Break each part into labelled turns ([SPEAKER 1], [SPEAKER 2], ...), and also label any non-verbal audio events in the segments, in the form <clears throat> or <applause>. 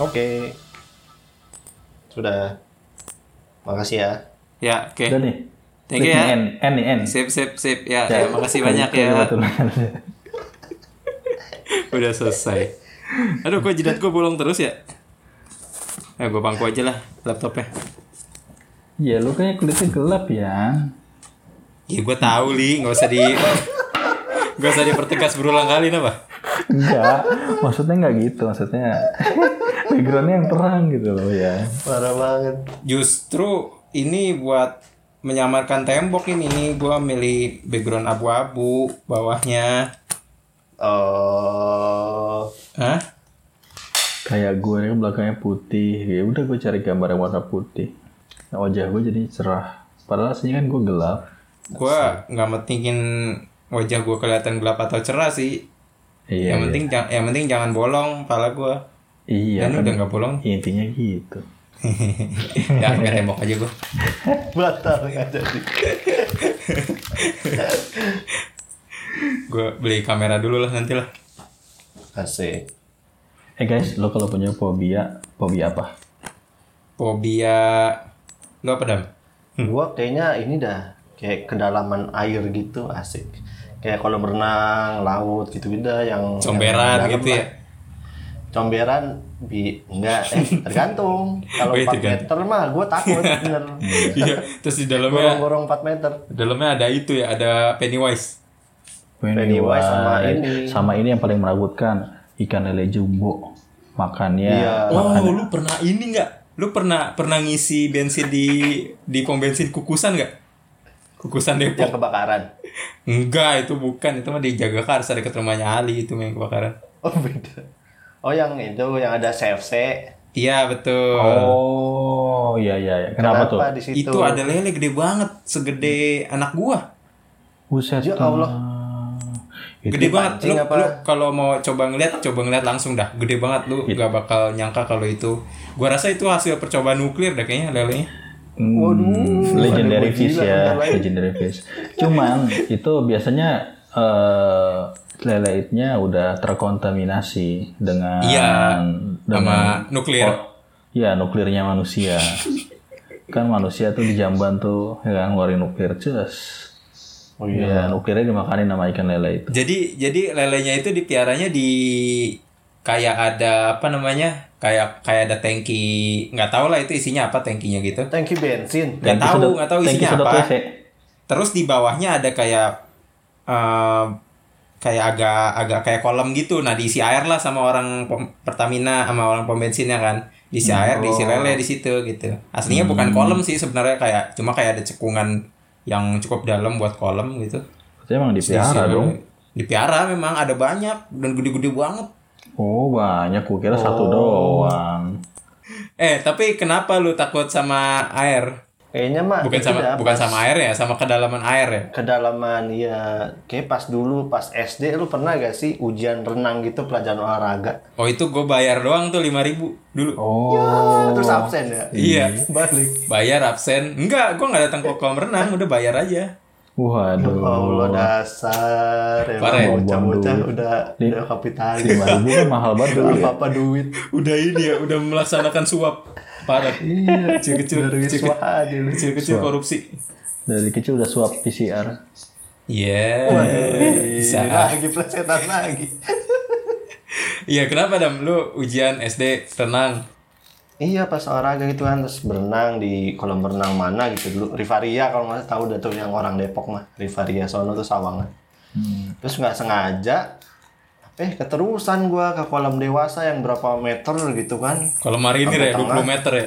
[SPEAKER 1] Oke. Sudah. Makasih ya.
[SPEAKER 2] Ya, oke.
[SPEAKER 3] Udah nih.
[SPEAKER 2] Thank you
[SPEAKER 3] Klik nih, N,
[SPEAKER 2] ya.
[SPEAKER 3] N nih, N.
[SPEAKER 2] Sip, sip, sip. Ya, ya,
[SPEAKER 3] Ya,
[SPEAKER 2] makasih banyak ya.
[SPEAKER 3] betul, betul.
[SPEAKER 2] Udah selesai. Aduh, kok jidat gue bolong terus ya? Eh, gue bangku aja lah laptopnya.
[SPEAKER 3] Ya lu kayaknya kulitnya gelap ya.
[SPEAKER 2] Ya, gue tahu li, nggak usah di, nggak usah dipertegas berulang kali, napa?
[SPEAKER 3] Enggak, maksudnya nggak gitu, maksudnya backgroundnya yang terang gitu loh ya.
[SPEAKER 1] Parah banget.
[SPEAKER 2] Justru ini buat menyamarkan tembok ini, ini gue milih background abu-abu bawahnya.
[SPEAKER 1] Oh.
[SPEAKER 2] Hah?
[SPEAKER 3] Kayak gue ini belakangnya putih, ya udah gue cari gambar yang warna putih. Nah, wajah gue jadi cerah. Padahal aslinya kan gue gelap.
[SPEAKER 2] Gue nggak metingin wajah gue kelihatan gelap atau cerah sih.
[SPEAKER 3] Iya,
[SPEAKER 2] yang penting jang- yang penting jangan bolong pala gue.
[SPEAKER 3] iya
[SPEAKER 2] Dan
[SPEAKER 3] kan
[SPEAKER 2] udah nggak bolong. <laughs>
[SPEAKER 3] intinya gitu.
[SPEAKER 2] ya, pakai tembok aja gue.
[SPEAKER 1] Batal nggak jadi.
[SPEAKER 2] Gue beli kamera dulu lah nanti lah.
[SPEAKER 1] Asik.
[SPEAKER 3] Eh guys, lo kalau punya fobia, fobia apa?
[SPEAKER 2] Fobia lu apa dam?
[SPEAKER 1] Gua kayaknya ini dah kayak kedalaman air gitu asik. Kayak kolam renang, laut gitu gitu dah yang
[SPEAKER 2] Comberan
[SPEAKER 1] yang dalam
[SPEAKER 2] gitu
[SPEAKER 1] lah.
[SPEAKER 2] ya.
[SPEAKER 1] Comberan bi enggak
[SPEAKER 2] <laughs>
[SPEAKER 1] eh tergantung. Kalau
[SPEAKER 2] Oh, iya,
[SPEAKER 1] 4
[SPEAKER 2] tergantung.
[SPEAKER 1] meter mah gua takut bener.
[SPEAKER 2] <laughs> <laughs> Iya. Terus di dalamnya
[SPEAKER 1] Gorong-gorong 4 meter.
[SPEAKER 2] dalamnya ada itu ya, ada Pennywise.
[SPEAKER 1] Pennywise sama ini.
[SPEAKER 3] Sama ini yang paling menakutkan, ikan lele jumbo. Makannya
[SPEAKER 1] Iya.
[SPEAKER 2] Oh, lu pernah ini nggak? Lu pernah pernah ngisi bensin di di pom bensin kukusan nggak? Kukusan
[SPEAKER 1] Yang
[SPEAKER 3] Iya.
[SPEAKER 2] Depok.
[SPEAKER 1] kebakaran.
[SPEAKER 2] Enggak, itu bukan. Itu mah di Jagakarsa dekat rumahnya Ali itu yang kebakaran.
[SPEAKER 1] <laughs> Oh beda. Oh yang itu yang ada CFC.
[SPEAKER 2] Iya, betul.
[SPEAKER 3] Oh, iya iya. iya. Kenapa, tuh?
[SPEAKER 1] di situ?
[SPEAKER 2] itu ada lele gede banget, segede anak gua.
[SPEAKER 3] Buset.
[SPEAKER 1] Ya Allah.
[SPEAKER 3] Itu,
[SPEAKER 2] Gede banget.
[SPEAKER 1] pancing
[SPEAKER 2] Lu,
[SPEAKER 1] apa?
[SPEAKER 2] lu kalau mau coba ngeliat, coba ngeliat langsung dah. Gede banget lu nggak bakal nyangka kalau itu. Gua rasa itu hasil percobaan nuklir dah kayaknya lelenya.
[SPEAKER 3] Hmm, legendary
[SPEAKER 1] Waduh,
[SPEAKER 3] fish
[SPEAKER 1] gila,
[SPEAKER 3] ya,
[SPEAKER 1] bentar lagi.
[SPEAKER 3] legendary fish. Cuman itu biasanya eh lele itnya udah terkontaminasi dengan
[SPEAKER 2] Iya,
[SPEAKER 3] dengan
[SPEAKER 2] sama nuklir.
[SPEAKER 3] Iya, nuklirnya
[SPEAKER 2] <laughs>
[SPEAKER 3] manusia. kan manusia tuh di jamban tuh ya kan ngeluarin nuklir cus.
[SPEAKER 1] Oh
[SPEAKER 3] Iya, nuklirnya dimakanin sama ikan lele itu.
[SPEAKER 2] Jadi jadi lelenya itu dipiaranya di kayak ada apa namanya? Kayak kayak ada tangki, nggak tahu lah itu isinya apa tangkinya gitu.
[SPEAKER 1] Tangki bensin.
[SPEAKER 2] Nggak
[SPEAKER 3] Thank you
[SPEAKER 2] tahu,
[SPEAKER 3] sedot-
[SPEAKER 2] nggak tahu
[SPEAKER 3] thank you
[SPEAKER 2] isinya
[SPEAKER 3] sedot
[SPEAKER 2] apa.
[SPEAKER 3] WC.
[SPEAKER 2] Terus di bawahnya ada kayak eh, kayak agak agak kayak kolam gitu. Nah, diisi air lah sama orang pom- Pertamina sama orang pom bensinnya kan. Diisi air, diisi lele di situ gitu. Aslinya bukan kolam sih sebenarnya kayak cuma kayak ada cekungan yang cukup dalam buat kolam gitu.
[SPEAKER 3] Berarti emang dipiara
[SPEAKER 2] Diisi
[SPEAKER 3] dong.
[SPEAKER 2] lele. Dipiara memang ada banyak dan gede-gede banget.
[SPEAKER 3] Oh banyak, gue kira satu doang.
[SPEAKER 2] Eh, tapi kenapa lu takut sama air?
[SPEAKER 1] Kayaknya mah
[SPEAKER 2] Bukan
[SPEAKER 1] itu
[SPEAKER 2] sama
[SPEAKER 1] dah,
[SPEAKER 2] bukan
[SPEAKER 1] pas
[SPEAKER 2] sama air ya, sama kedalaman air ya.
[SPEAKER 1] kedalaman ya kayak pas dulu pas SD lu pernah gak sih ujian renang gitu pelajaran olahraga
[SPEAKER 2] Oh, itu gue bayar doang tuh 5000 dulu.
[SPEAKER 3] Oh,
[SPEAKER 1] Ah, terus absen ya
[SPEAKER 2] Iya.
[SPEAKER 1] balik
[SPEAKER 2] Bayar absen. Enggak, gua nggak datang ke kolam renang, udah bayar aja.
[SPEAKER 3] waduh.
[SPEAKER 1] Allah dasar
[SPEAKER 2] Parah ya?
[SPEAKER 1] emang bocah-bocah udah
[SPEAKER 3] Di-
[SPEAKER 1] udah kapitalis
[SPEAKER 3] lima ribu
[SPEAKER 1] <laughs>
[SPEAKER 3] kan mahal banget dulu
[SPEAKER 1] apa
[SPEAKER 3] ya.
[SPEAKER 1] apa duit
[SPEAKER 2] Udah ini ya, udah melaksanakan suap. Parah.
[SPEAKER 1] iya
[SPEAKER 2] Kecil-kecil
[SPEAKER 1] dari
[SPEAKER 2] kecil-kecil
[SPEAKER 1] swah aja lu.
[SPEAKER 2] kecil-kecil korupsi.
[SPEAKER 3] Dari kecil udah swab PCR.
[SPEAKER 2] Iya. Bisa.
[SPEAKER 1] Iya, lagi plesetan lagi
[SPEAKER 2] Iya, kenapa Dam lu ujian SD renang?
[SPEAKER 1] Iya pas olahraga gitu kan terus berenang di kolam renang mana gitu dulu Rivaria kalau nggak salah tahu udah tuh yang orang Depok mah Rivaria sono tuh Sawangan
[SPEAKER 2] Hmm.
[SPEAKER 1] terus nggak sengaja eh keterusan gua ke kolam dewasa yang berapa meter gitu kan
[SPEAKER 2] Kalau marinir ya
[SPEAKER 1] Sampai
[SPEAKER 2] 20 meter ya.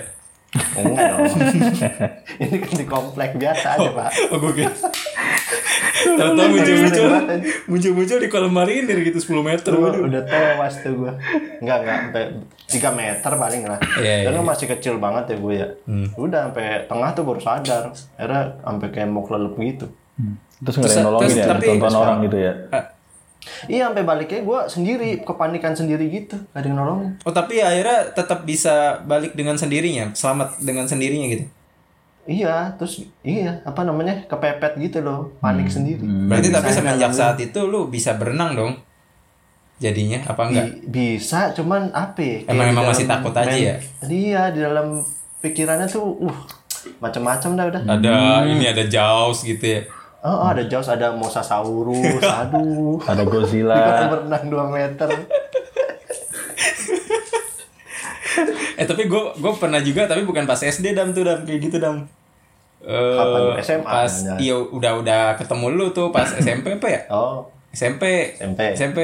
[SPEAKER 1] enggak dong
[SPEAKER 2] <laughs>
[SPEAKER 1] ini kan di komplek biasa aja pak
[SPEAKER 2] Oh, gue kira. Tahu-tahu muncul-muncul muncul-muncul di kolam marinir gitu 10 meter.
[SPEAKER 1] Gua udah tewas tuh gua enggak enggak sampai 3 meter paling lah
[SPEAKER 2] Iya, Hmm.
[SPEAKER 1] dan gua masih kecil banget ya gua ya udah sampai tengah tuh baru sadar akhirnya sampai kayak mau kelelep gitu
[SPEAKER 3] Terus nggak ada yang
[SPEAKER 2] Terus-
[SPEAKER 3] nolongin
[SPEAKER 2] terus
[SPEAKER 3] ya,
[SPEAKER 2] tapi-
[SPEAKER 3] ditonton orang gitu ya.
[SPEAKER 2] Ah.
[SPEAKER 1] Iya sampai baliknya gue sendiri kepanikan sendiri gitu gak ada yang nolongin.
[SPEAKER 2] Oh, tapi akhirnya tetap bisa balik dengan sendirinya, selamat dengan sendirinya gitu.
[SPEAKER 1] Iya terus iya apa namanya
[SPEAKER 2] Hmm,
[SPEAKER 1] kepepet gitu loh panik sendiri.
[SPEAKER 2] Berarti tapi semenjak saat itu lu bisa berenang dong. jadinya apa enggak?
[SPEAKER 1] Bi- bisa cuman apa ya, kayak
[SPEAKER 2] Emang-
[SPEAKER 1] di
[SPEAKER 2] emang masih
[SPEAKER 1] dalam
[SPEAKER 2] takut aja
[SPEAKER 1] men-
[SPEAKER 2] ya?
[SPEAKER 1] iya di dalam pikirannya tuh uh macam-macam dah udah
[SPEAKER 2] Nah. Ada ini ada jaws gitu ya.
[SPEAKER 1] oh, oh, ada jaws ada
[SPEAKER 2] <laughs>
[SPEAKER 1] mosasaurus aduh
[SPEAKER 3] Ada Godzilla.
[SPEAKER 1] di kolam berenang 2 meter
[SPEAKER 2] Eh tapi gue gue pernah juga tapi bukan pas SD dam tuh dam kayak gitu dam. Eh,
[SPEAKER 1] Kapan? SMA?
[SPEAKER 2] Pas
[SPEAKER 1] Jangan.
[SPEAKER 2] iya udah udah ketemu lu tuh pas SMP apa ya?
[SPEAKER 1] oh
[SPEAKER 2] SMP.
[SPEAKER 1] SMP.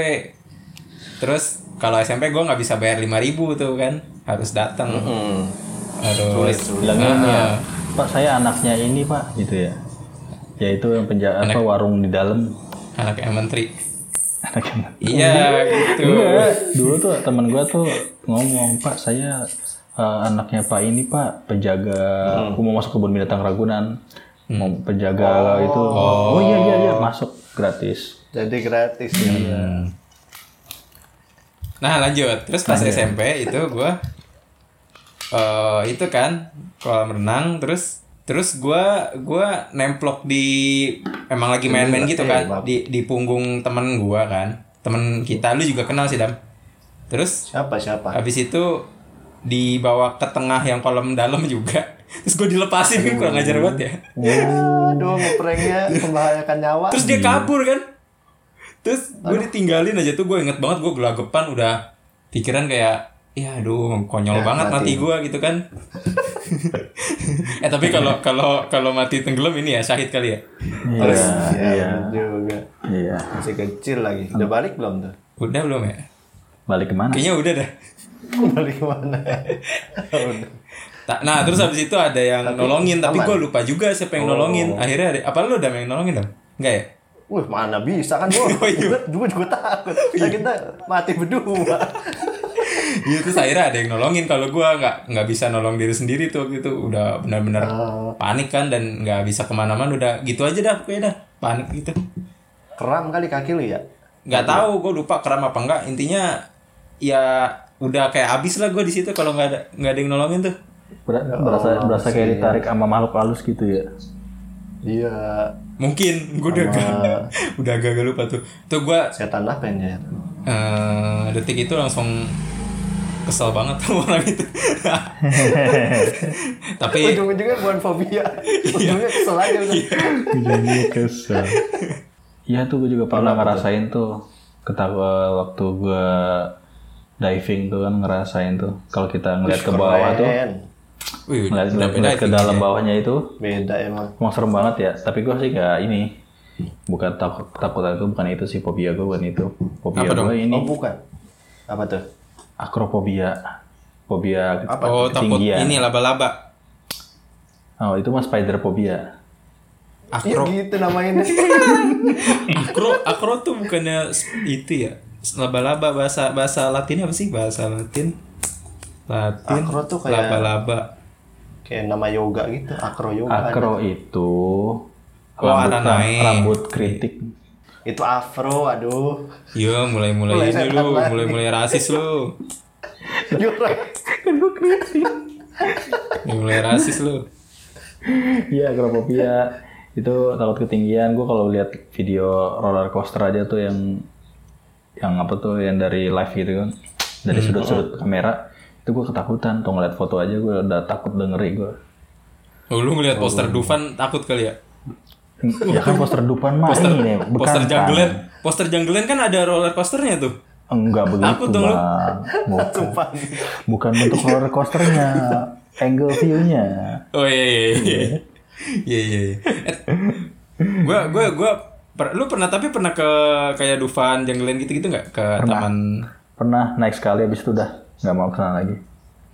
[SPEAKER 2] Terus kalau SMP gue nggak bisa bayar 5000 tuh kan harus datang. Harus.
[SPEAKER 3] bilangnya
[SPEAKER 2] Ah,
[SPEAKER 3] ini ya pak saya anaknya ini pak gitu ya ya itu yang penjara apa warung di dalam <laughs>
[SPEAKER 2] Anak yang menteri.
[SPEAKER 3] anak yang
[SPEAKER 2] Iya gitu.
[SPEAKER 3] Enggak, dulu tuh teman gua tuh ngomong pak saya eh, anaknya pak ini pak penjaga aku mau masuk kebun binatang Ragunan mau penjaga itu Hmm. oh iya iya iya masuk gratis
[SPEAKER 1] jadi gratis ya
[SPEAKER 2] Hmm. Nah lanjut, terus pas SMP itu gua eh itu kan kolam renang, terus terus gua gua nemplok di emang lagi main-main gitu kan di di punggung temen gua kan, temen kita lu juga kenal sih dam. Terus
[SPEAKER 1] siapa siapa
[SPEAKER 2] habis itu dibawa ke tengah yang kolam dalam <laughs> juga, terus gua dilepasin kan kurang ajar banget ya.
[SPEAKER 1] aduh Iya, ngepranknya membahayakan nyawa
[SPEAKER 2] Terus dia kabur kan. Terus gue ditinggalin aja tuh gue inget banget gue gelagapan udah pikiran kayak ya aduh konyol banget mati, gue gitu <laughs> kan. eh tapi kalau kalau kalau mati tenggelam ini ya syahid kali ya.
[SPEAKER 3] iya iya
[SPEAKER 1] bener juga
[SPEAKER 3] iya
[SPEAKER 1] masih kecil lagi
[SPEAKER 3] Hmm.
[SPEAKER 1] udah balik belum tuh <laughs>
[SPEAKER 2] Udah belum ya?
[SPEAKER 3] balik kemana
[SPEAKER 2] Kayaknya udah dah.
[SPEAKER 1] balik
[SPEAKER 3] <laughs>
[SPEAKER 1] mana udah
[SPEAKER 2] Ta- Nah terus habis itu ada yang nolongin tapi Oh. gue lupa juga siapa yang nolongin. Akhirnya ada apa lu udah yang nolongin dong? Enggak ya?
[SPEAKER 1] Wih mana bisa
[SPEAKER 3] <laughs>
[SPEAKER 1] kan gua
[SPEAKER 2] Oh, iya.
[SPEAKER 1] gua gua juga takut
[SPEAKER 3] Iya.
[SPEAKER 1] Nah, kita mati berdua <laughs>
[SPEAKER 2] Iya terus akhirnya ada yang nolongin kalau gua nggak nggak bisa nolong diri sendiri tuh waktu itu udah benar-benar panik kan dan nggak bisa kemana-mana udah gitu aja dah pokoknya dah panik gitu
[SPEAKER 1] keram kali kaki lu ya
[SPEAKER 2] nggak tahu gue lupa kram apa enggak intinya ya udah kayak abis lah gue di situ kalau nggak ada nggak ada yang nolongin tuh
[SPEAKER 3] Ber- berasa berasa kayak ditarik sama makhluk halus gitu ya
[SPEAKER 1] iya
[SPEAKER 2] mungkin gue udah agak <laughs> udah agak agak lupa tuh tuh gue
[SPEAKER 1] setan apa ini ya
[SPEAKER 2] eh, detik itu langsung kesel banget sama orang itu tapi
[SPEAKER 3] Iya.
[SPEAKER 1] ujung-ujungnya bukan
[SPEAKER 3] <laughs>
[SPEAKER 1] fobia ujungnya kesel aja udah
[SPEAKER 3] Jadinya kesel. Iya tuh gue juga pernah ngerasain tuh ketawa waktu gue diving tuh kan ngerasain tuh kalau kita ngeliat ke bawah tuh
[SPEAKER 1] Keren.
[SPEAKER 2] wih
[SPEAKER 3] ngeliat, ngeliat-
[SPEAKER 2] udah
[SPEAKER 3] ngeliat ke dalam bawahnya itu
[SPEAKER 1] beda emang
[SPEAKER 3] emang serem banget ya tapi gue sih gak ini bukan takut takutan gue bukan itu sih fobia gue bukan itu fobia gue ini
[SPEAKER 1] oh bukan apa tuh
[SPEAKER 3] akrofobia fobia
[SPEAKER 2] oh takut
[SPEAKER 3] ketinggian
[SPEAKER 2] ini laba-laba
[SPEAKER 3] oh itu mah spiderphobia
[SPEAKER 1] iya
[SPEAKER 2] akro
[SPEAKER 1] gitu namanya
[SPEAKER 3] <laughs>
[SPEAKER 2] akro akro tuh bukannya s- itu ya laba-laba bahasa bahasa latinnya apa sih bahasa latin latin
[SPEAKER 1] Acro tuh kayak-
[SPEAKER 2] laba-laba
[SPEAKER 1] kayak nama yoga gitu akro yoga
[SPEAKER 3] akro itu
[SPEAKER 2] Oh, ada naik.
[SPEAKER 3] rambut kritik
[SPEAKER 1] itu afro
[SPEAKER 3] <laughs>
[SPEAKER 1] aduh
[SPEAKER 2] Yo, mulai mulai
[SPEAKER 1] Mulai
[SPEAKER 2] ini
[SPEAKER 1] setan
[SPEAKER 2] lu,
[SPEAKER 1] lagi.
[SPEAKER 2] mulai mulai rasis lu,
[SPEAKER 1] Yura.
[SPEAKER 2] mulai rasis lu.
[SPEAKER 3] Iya, akrofobia. itu takut ketinggian. Gue kalau lihat video roller coaster aja tuh yang yang apa tuh yang dari live gitu kan. Dari
[SPEAKER 2] Hmm.
[SPEAKER 3] sudut-sudut
[SPEAKER 2] Oh.
[SPEAKER 3] kamera itu gue ketakutan. Tuh ngeliat foto aja gue udah takut udah ngeri gue.
[SPEAKER 2] Oh, lu ngeliat poster Dufan takut kali ya?
[SPEAKER 3] Ya kan poster depan mah ini kan? nih,
[SPEAKER 2] Poster
[SPEAKER 3] bekantan.
[SPEAKER 2] Jungleland, poster Jungleland kan ada roller coasternya tuh.
[SPEAKER 3] Enggak begitu,
[SPEAKER 2] Takut dong lu.
[SPEAKER 3] Bang. Bukan, bukan bentuk roller coasternya, angle view-nya.
[SPEAKER 2] Oh iya iya iya. Iya iya. iya. Eh, Gua gua gua per- lu pernah tapi pernah ke kayak Dufan, Jungleland gitu-gitu nggak ke taman?
[SPEAKER 3] Pernah naik sekali habis itu udah nggak mau kesana lagi.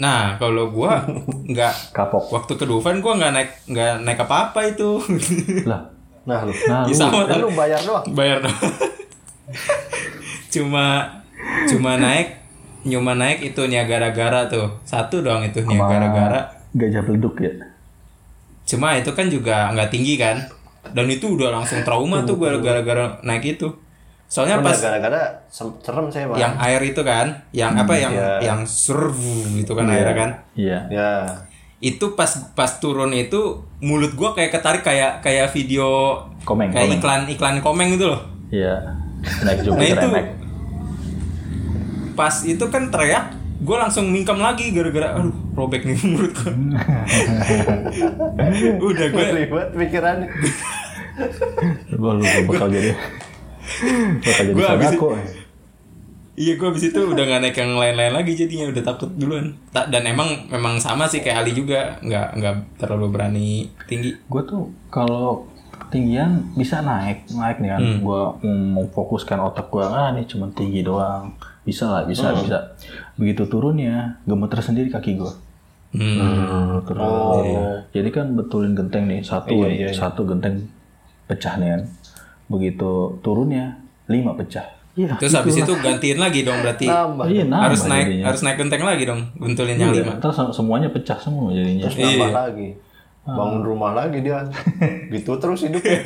[SPEAKER 2] Nah, kalau <laughs> gua nggak
[SPEAKER 3] Kapok.
[SPEAKER 2] waktu ke Dufan gua nggak naik nggak naik apa-apa itu.
[SPEAKER 3] Lah,
[SPEAKER 1] nah lu
[SPEAKER 2] Ya,
[SPEAKER 3] nah, lu-
[SPEAKER 2] sama
[SPEAKER 1] Kan
[SPEAKER 2] tapi-
[SPEAKER 1] lu bayar doang
[SPEAKER 2] bayar dong cuma cuma naik cuma naik itu Niagara-gara tuh satu doang itu Niagara-gara
[SPEAKER 3] gajah beleduk ya.
[SPEAKER 2] cuma itu kan juga nggak tinggi kan dan itu udah langsung trauma tuh gue gara-gara naik itu soalnya
[SPEAKER 1] Pernah
[SPEAKER 2] kan pas
[SPEAKER 1] gara-gara sem- serem saya bang
[SPEAKER 2] yang air itu kan yang apa yang yang servu gitu kan airnya kan
[SPEAKER 3] Hmm, Iya.
[SPEAKER 1] ya
[SPEAKER 2] <laughs> itu pas pas turun itu mulut gua kayak ketarik kayak kayak video
[SPEAKER 3] Komeng,
[SPEAKER 2] kayak
[SPEAKER 3] komeng.
[SPEAKER 2] iklan iklan komeng gitu loh
[SPEAKER 3] Iya. Naik
[SPEAKER 2] Nah
[SPEAKER 3] Jupiter
[SPEAKER 2] itu
[SPEAKER 3] naik.
[SPEAKER 2] pas itu kan teriak gue langsung mingkem lagi gara-gara aduh robek nih <laughs> menurut
[SPEAKER 3] <laughs>
[SPEAKER 2] gue udah gue
[SPEAKER 1] Ribet pikiran.
[SPEAKER 3] Gue lu bakal jadi bakal jadi
[SPEAKER 2] Gua abis-
[SPEAKER 3] sodako.
[SPEAKER 2] Iya gue abis itu udah gak naik yang lain-lain lagi jadinya udah takut duluan. Ta- dan emang memang sama sih kayak Ali juga nggak nggak terlalu berani tinggi.
[SPEAKER 3] Gue tuh kalau ketinggian bisa naik naik nih kan. Gue mau fokuskan otak gue ah ini cuma tinggi doang. Bisa lah bisa bisa. Begitu turunnya gemeter sendiri kaki gue.
[SPEAKER 2] Hmm.
[SPEAKER 3] Oh. Jadi kan betulin genteng nih satu
[SPEAKER 1] Iya,
[SPEAKER 3] kan,
[SPEAKER 1] iya, iya.
[SPEAKER 3] satu genteng pecah nih kan. Begitu turunnya lima pecah. Iya.
[SPEAKER 2] Terus habis itu gantiin lagi dong berarti
[SPEAKER 1] Nambah.
[SPEAKER 3] Iya, nambah
[SPEAKER 2] harus naik
[SPEAKER 3] jadinya.
[SPEAKER 2] harus naik genteng lagi dong guntulin yang
[SPEAKER 3] Iya,
[SPEAKER 2] lima.
[SPEAKER 3] Terus semuanya pecah semua jadinya.
[SPEAKER 2] Iya.
[SPEAKER 1] Terus nambah lagi. Bangun rumah lagi <laughs> dia. gitu terus
[SPEAKER 2] Iya.
[SPEAKER 1] hidupnya.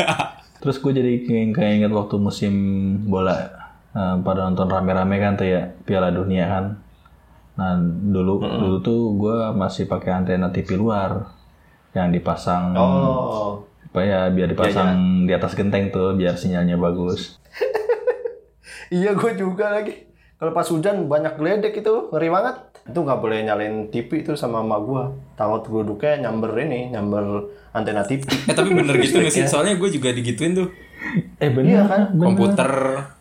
[SPEAKER 3] Terus gue jadi kayak kayak inget waktu musim bola eh, pada nonton rame-rame kan tuh ya Piala Dunia kan. Nah dulu dulu tuh gue masih pakai antena TV luar yang dipasang
[SPEAKER 1] Oh.
[SPEAKER 3] apa ya biar dipasang di atas genteng tuh biar sinyalnya bagus.
[SPEAKER 1] Iya gue juga lagi. Kalau pas hujan banyak geledek itu ngeri banget. Itu nggak boleh nyalain TV itu sama emak gue. Takut duduknya nyamber ini, nyamber antena TV.
[SPEAKER 2] Eh tapi bener gitu nggak sih?
[SPEAKER 3] Iya.
[SPEAKER 2] Soalnya gue juga digituin tuh
[SPEAKER 3] Eh bener kan?
[SPEAKER 2] komputer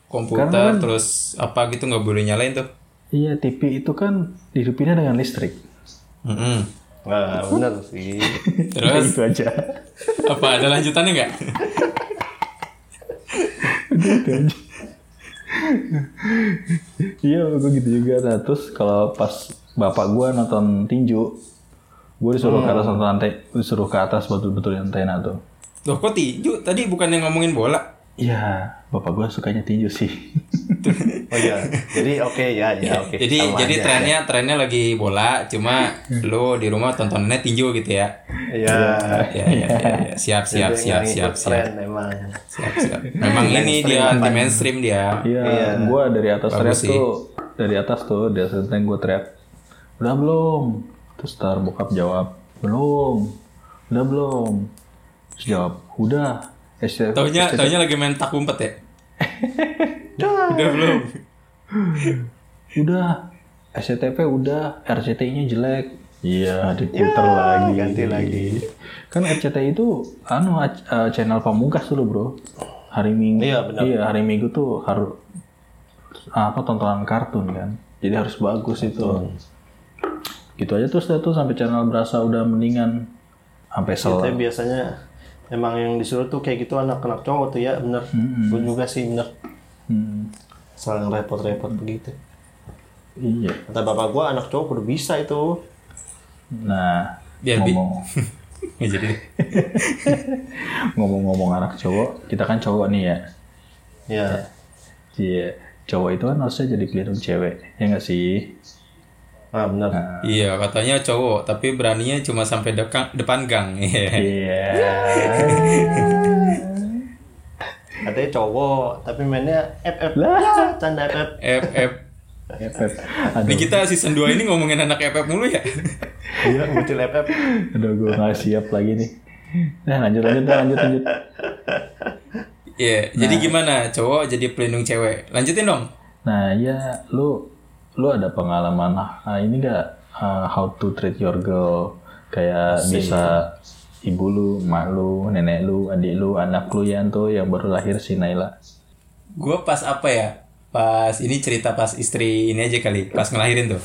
[SPEAKER 2] komputer terus apa gitu nggak boleh nyalain tuh.
[SPEAKER 3] Iya TV itu kan dihidupinnya dengan listrik.
[SPEAKER 2] Mm-mm.
[SPEAKER 3] <laughs>
[SPEAKER 1] Nah,
[SPEAKER 2] <laughs>
[SPEAKER 1] bener sih.
[SPEAKER 2] Hmm. Terus
[SPEAKER 3] Itu aja. <laughs>
[SPEAKER 2] apa ada lanjutannya nggak?
[SPEAKER 3] iya gue gitu juga. Nah terus kalau pas bapak gua nonton tinju, gue disuruh ke atas nonton ante, disuruh ke atas betul-betul antena tuh.
[SPEAKER 2] Loh kok tinju? Tadi bukan yang ngomongin bola.
[SPEAKER 3] Iya, bapak gua sukanya tinju sih.
[SPEAKER 1] Oh iya. Jadi oke ya, ya oke.
[SPEAKER 2] Iya. jadi
[SPEAKER 1] Sama
[SPEAKER 2] jadi
[SPEAKER 1] aja. ya.
[SPEAKER 2] trennya trennya lagi bola cuma lo di rumah tontonannya tinju gitu ya
[SPEAKER 1] Iya.
[SPEAKER 2] ya ya, ya, ya.
[SPEAKER 1] <laughs>
[SPEAKER 2] siap siap
[SPEAKER 1] Jadi nggak
[SPEAKER 2] siap siap
[SPEAKER 1] ngikut
[SPEAKER 2] siap
[SPEAKER 1] Tren emang.
[SPEAKER 2] siap
[SPEAKER 1] <laughs>
[SPEAKER 2] siap memang ini dia anti mainstream dia
[SPEAKER 1] Iya.
[SPEAKER 3] Iya, gua dari atas teriak
[SPEAKER 2] Bagus sih.
[SPEAKER 3] tuh, dari atas tuh, dari atas genteng gue teriak, udah belum? Terus ntar bokap jawab, belum, udah belum? Terus jawab, udah. Eh, saya-
[SPEAKER 1] Iya.
[SPEAKER 2] taunya taunya lagi main tak umpet ya udah belum
[SPEAKER 3] udah SCTP udah RCTI-nya jelek iya di Twitter lagi ganti lagi kan RCTI itu anu ac- eh, channel pamungkas dulu bro hari minggu
[SPEAKER 1] Iya, benar.
[SPEAKER 3] hari minggu tuh harus apa tontonan kartun kan jadi harus bagus itu gitu aja terus dah tuh sampai channel berasa udah mendingan sampai sel
[SPEAKER 1] Tapi biasanya emang yang disuruh tuh kayak gitu anak-anak cowok tuh ya bener. Gue juga sih bener.
[SPEAKER 3] Hmm,
[SPEAKER 1] Soal yang repot-repot begitu.
[SPEAKER 3] iya
[SPEAKER 1] Kata bapak gue anak cowok kudu bisa itu.
[SPEAKER 3] nah
[SPEAKER 2] Biar bi-
[SPEAKER 3] ngomong
[SPEAKER 1] Iya.
[SPEAKER 2] Ya, <laughs> jadi
[SPEAKER 3] ngomong-ngomong anak cowok kita kan cowok nih ya
[SPEAKER 1] Ya.
[SPEAKER 3] Iya, cowok itu kan harusnya jadi pelindung cewek, ya nggak sih?
[SPEAKER 1] Ah bener.
[SPEAKER 2] iya katanya cowok tapi beraninya cuma sampai depan depan gang <laughs> Iya.
[SPEAKER 3] Iya.
[SPEAKER 1] Katanya cowok, tapi mainnya FF
[SPEAKER 3] Lah.
[SPEAKER 1] <laughs> lah, canda FF.
[SPEAKER 2] Ep, ep.
[SPEAKER 3] Epep. Aduh,
[SPEAKER 2] Ini kita season 2 ini ngomongin anak FF mulu ya? <laughs>
[SPEAKER 1] Iya, muncul FF.
[SPEAKER 3] aduh gue nggak siap lagi nih. Nah lanjut lanjut nah, lanjut lanjut.
[SPEAKER 2] Iya,
[SPEAKER 1] Nah.
[SPEAKER 2] jadi gimana? Cowok jadi pelindung cewek. Lanjutin dong.
[SPEAKER 3] Nah ya, lu lu ada pengalaman ah, ini nggak ah, how to treat your girl kayak bisa ibu lu, mak lu, nenek lu, adik lu, anak lu yang tuh yang baru lahir si Naila.
[SPEAKER 2] Gue pas apa ya? Pas ini cerita pas istri ini aja kali, pas ngelahirin tuh.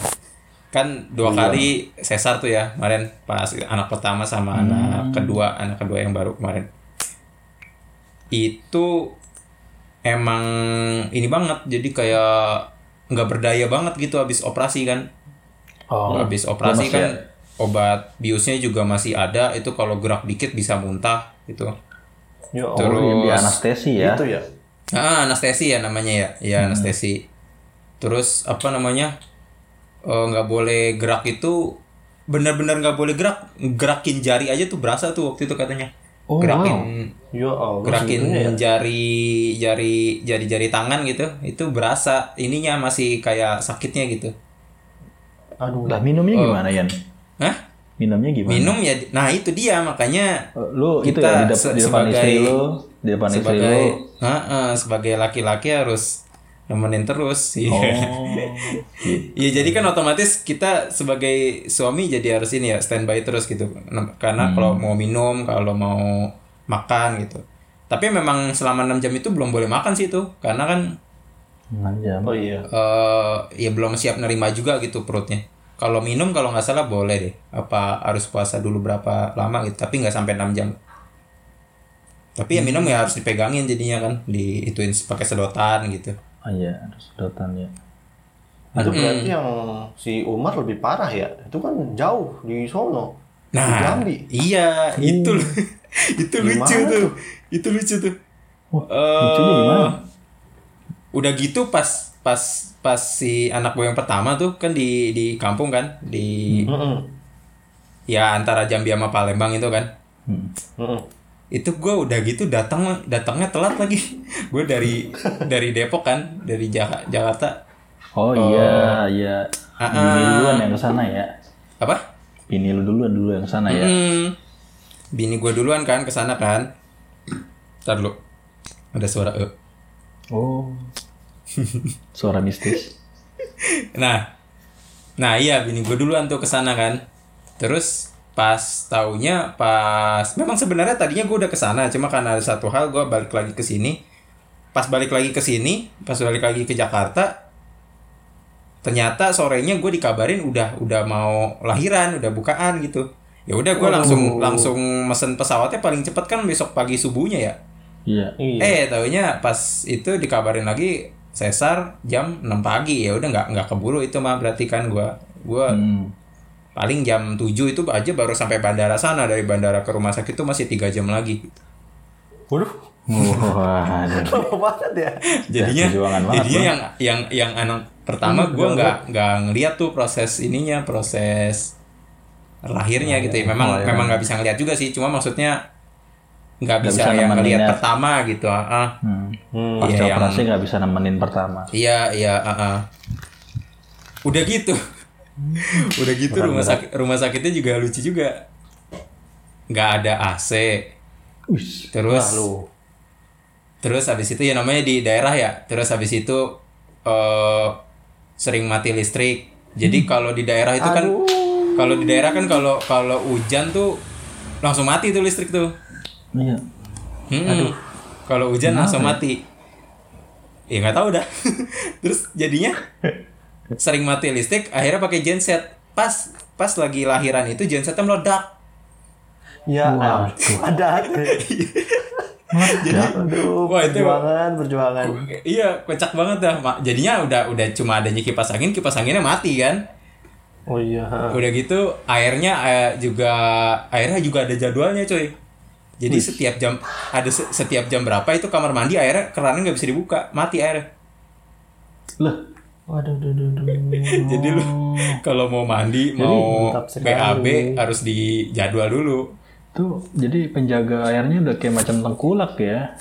[SPEAKER 2] Kan dua kali sesar tuh ya kemarin, pas anak pertama sama anak kedua, anak kedua yang baru kemarin. Itu emang ini banget, jadi kayak nggak berdaya banget gitu abis operasi kan.
[SPEAKER 1] Oh.
[SPEAKER 2] habis operasi kan obat biusnya juga masih ada, itu kalau gerak dikit bisa muntah gitu.
[SPEAKER 1] Ya, Allah.
[SPEAKER 3] Oh, yang di
[SPEAKER 2] Terus-
[SPEAKER 3] anestesi ya.
[SPEAKER 1] Itu ya.
[SPEAKER 2] Ah, anestesi ya namanya ya. Iya,
[SPEAKER 3] Hmm.
[SPEAKER 2] anestesi. Terus apa namanya? Eh, nggak boleh gerak itu benar-benar nggak boleh gerak. Gerakin jari aja tuh berasa tuh waktu itu katanya.
[SPEAKER 3] Oh,
[SPEAKER 2] gerakin
[SPEAKER 1] Ya Allah.
[SPEAKER 2] gerakin
[SPEAKER 1] segitunya ya.
[SPEAKER 2] jari jari jari-jari tangan gitu. Itu berasa ininya masih kayak sakitnya gitu.
[SPEAKER 1] Aduh.
[SPEAKER 3] Lah minumnya
[SPEAKER 2] Oh.
[SPEAKER 3] gimana Yan?
[SPEAKER 2] Hah?
[SPEAKER 3] Minumnya gimana?
[SPEAKER 2] Minum ya. Nah, itu dia makanya
[SPEAKER 3] lu itu
[SPEAKER 2] Kita
[SPEAKER 3] ya di, dep-
[SPEAKER 2] se-
[SPEAKER 3] di depan
[SPEAKER 2] sebagai-
[SPEAKER 3] istri lu di depan istri lu
[SPEAKER 2] sebagai Ah, ah, sebagai laki-laki harus nemenin terus iya
[SPEAKER 3] Oh,
[SPEAKER 2] <laughs>
[SPEAKER 3] gitu.
[SPEAKER 2] Iya jadi kan otomatis kita sebagai suami jadi harus ini ya standby terus gitu karena kalau mau minum kalau mau makan gitu tapi memang selama 6 jam itu belum boleh makan sih itu karena kan
[SPEAKER 3] Enam jam.
[SPEAKER 1] Oh iya.
[SPEAKER 2] eh ya belum siap nerima juga gitu perutnya kalau minum kalau nggak salah boleh deh apa harus puasa dulu berapa lama gitu tapi nggak sampai 6 jam tapi ya minum ya harus dipegangin jadinya kan diituin pakai sedotan gitu
[SPEAKER 3] Oh iya, ada sedotan ya.
[SPEAKER 1] Itu berarti yang si Umar lebih parah ya. Itu kan jauh di Solo. di
[SPEAKER 2] Nah,
[SPEAKER 1] Jambi.
[SPEAKER 2] iya, itu lu- <laughs> itu lucu
[SPEAKER 1] Gimana
[SPEAKER 2] tuh. Itu lucu tuh.
[SPEAKER 3] Wah,
[SPEAKER 2] Eh,
[SPEAKER 3] lucunya gimana?
[SPEAKER 2] Udah gitu pas pas pas si anak gue yang pertama tuh kan di di kampung kan, di
[SPEAKER 1] Mm-mm.
[SPEAKER 2] ya antara Jambi sama Palembang itu kan.
[SPEAKER 3] Hmm.
[SPEAKER 1] Mm-mm.
[SPEAKER 2] Itu gue udah gitu datang datangnya telat lagi. <laughs> gue dari dari Depok kan, dari Jaka- Jakarta.
[SPEAKER 3] Oh iya, iya.
[SPEAKER 2] Ah,
[SPEAKER 3] Bini lu duluan yang kesana ya.
[SPEAKER 2] Apa?
[SPEAKER 3] Bini lu duluan dulu yang kesana ya.
[SPEAKER 2] Hmm. Bini gue duluan kan ke sana kan. Ntar dulu. Ada suara eh. <laughs>
[SPEAKER 3] Oh. Suara mistis.
[SPEAKER 2] Nah, nah iya bini gue duluan tuh kesana kan. Terus pas taunya pas memang sebenarnya tadinya gue udah kesana cuma karena ada satu hal gue balik lagi ke sini. Pas balik lagi ke sini, pas balik lagi ke Jakarta, ternyata sorenya gue dikabarin udah udah mau lahiran, udah bukaan gitu. Ya udah gue langsung langsung mesen pesawatnya paling cepat kan besok pagi subuhnya ya.
[SPEAKER 3] Iya.
[SPEAKER 1] Iya.
[SPEAKER 2] Eh, taunya pas itu dikabarin lagi sesar jam 6 pagi. Ya udah nggak nggak keburu itu mah berarti kan gua gua
[SPEAKER 3] Hmm.
[SPEAKER 2] paling jam 7 itu aja baru sampai bandara sana dari bandara ke rumah sakit itu masih tiga jam lagi.
[SPEAKER 1] Waduh,
[SPEAKER 3] Wah,
[SPEAKER 1] <laughs> lama banget ya.
[SPEAKER 2] Jadinya
[SPEAKER 3] perjuangan banget,
[SPEAKER 2] jadinya
[SPEAKER 3] Bang.
[SPEAKER 2] yang yang yang anak pertama gua nggak nggak ngeliat tuh proses ininya, proses lahirnya gitu ya. Memang memang nggak bisa ngeliat juga sih, cuma maksudnya nggak bisa,
[SPEAKER 3] bisa
[SPEAKER 2] yang ngeliat
[SPEAKER 3] nemeninnya.
[SPEAKER 2] pertama gitu. ah, ah.
[SPEAKER 3] Hmm.
[SPEAKER 1] Hmm.
[SPEAKER 3] Pasca
[SPEAKER 2] Iya, yang-
[SPEAKER 3] operasi nggak bisa nemenin pertama.
[SPEAKER 2] Iya, iya, ah, ah. Udah gitu. <laughs> Udah gitu rumah sakit rumah sakitnya juga lucu juga. nggak ada AC.
[SPEAKER 3] Wis.
[SPEAKER 2] Terus
[SPEAKER 1] Lalu.
[SPEAKER 2] terus habis itu ya namanya di daerah ya. Terus habis itu eh sering mati listrik. Jadi kalau di daerah itu kan kalau di daerah kan kalau kalau hujan tuh langsung mati tuh listrik tuh.
[SPEAKER 3] Iya.
[SPEAKER 2] Mm-mm. Kalau hujan langsung mati. Ya nggak tahu dah. <laughs> Terus jadinya sering mati listrik, akhirnya pakai genset. Pas pas lagi lahiran itu gensetnya meledak.
[SPEAKER 1] Ya,
[SPEAKER 3] Wah,
[SPEAKER 1] ampun. <laughs> ada.
[SPEAKER 3] Ya,
[SPEAKER 1] Aduh,
[SPEAKER 2] Wah, itu-
[SPEAKER 1] perjuangan, perjuangan.
[SPEAKER 2] Iya, kocak banget dah. Ma- Jadinya udah udah cuma adanya kipas angin, kipas anginnya mati kan.
[SPEAKER 1] Oh iya. ha.
[SPEAKER 2] Udah gitu airnya eh, juga airnya juga ada jadwalnya, coy. Jadi setiap jam ada se- setiap jam berapa itu kamar mandi airnya kerannya nggak bisa dibuka, mati airnya.
[SPEAKER 3] Loh,
[SPEAKER 1] Waduh, duh, duh, duh.
[SPEAKER 2] Jadi
[SPEAKER 1] <laughs>
[SPEAKER 2] lu kalau mau mandi, mau
[SPEAKER 1] mantap sekali.
[SPEAKER 2] BAB harus dijadwal dulu.
[SPEAKER 3] tuh jadi penjaga airnya udah kayak macam tengkulak ya.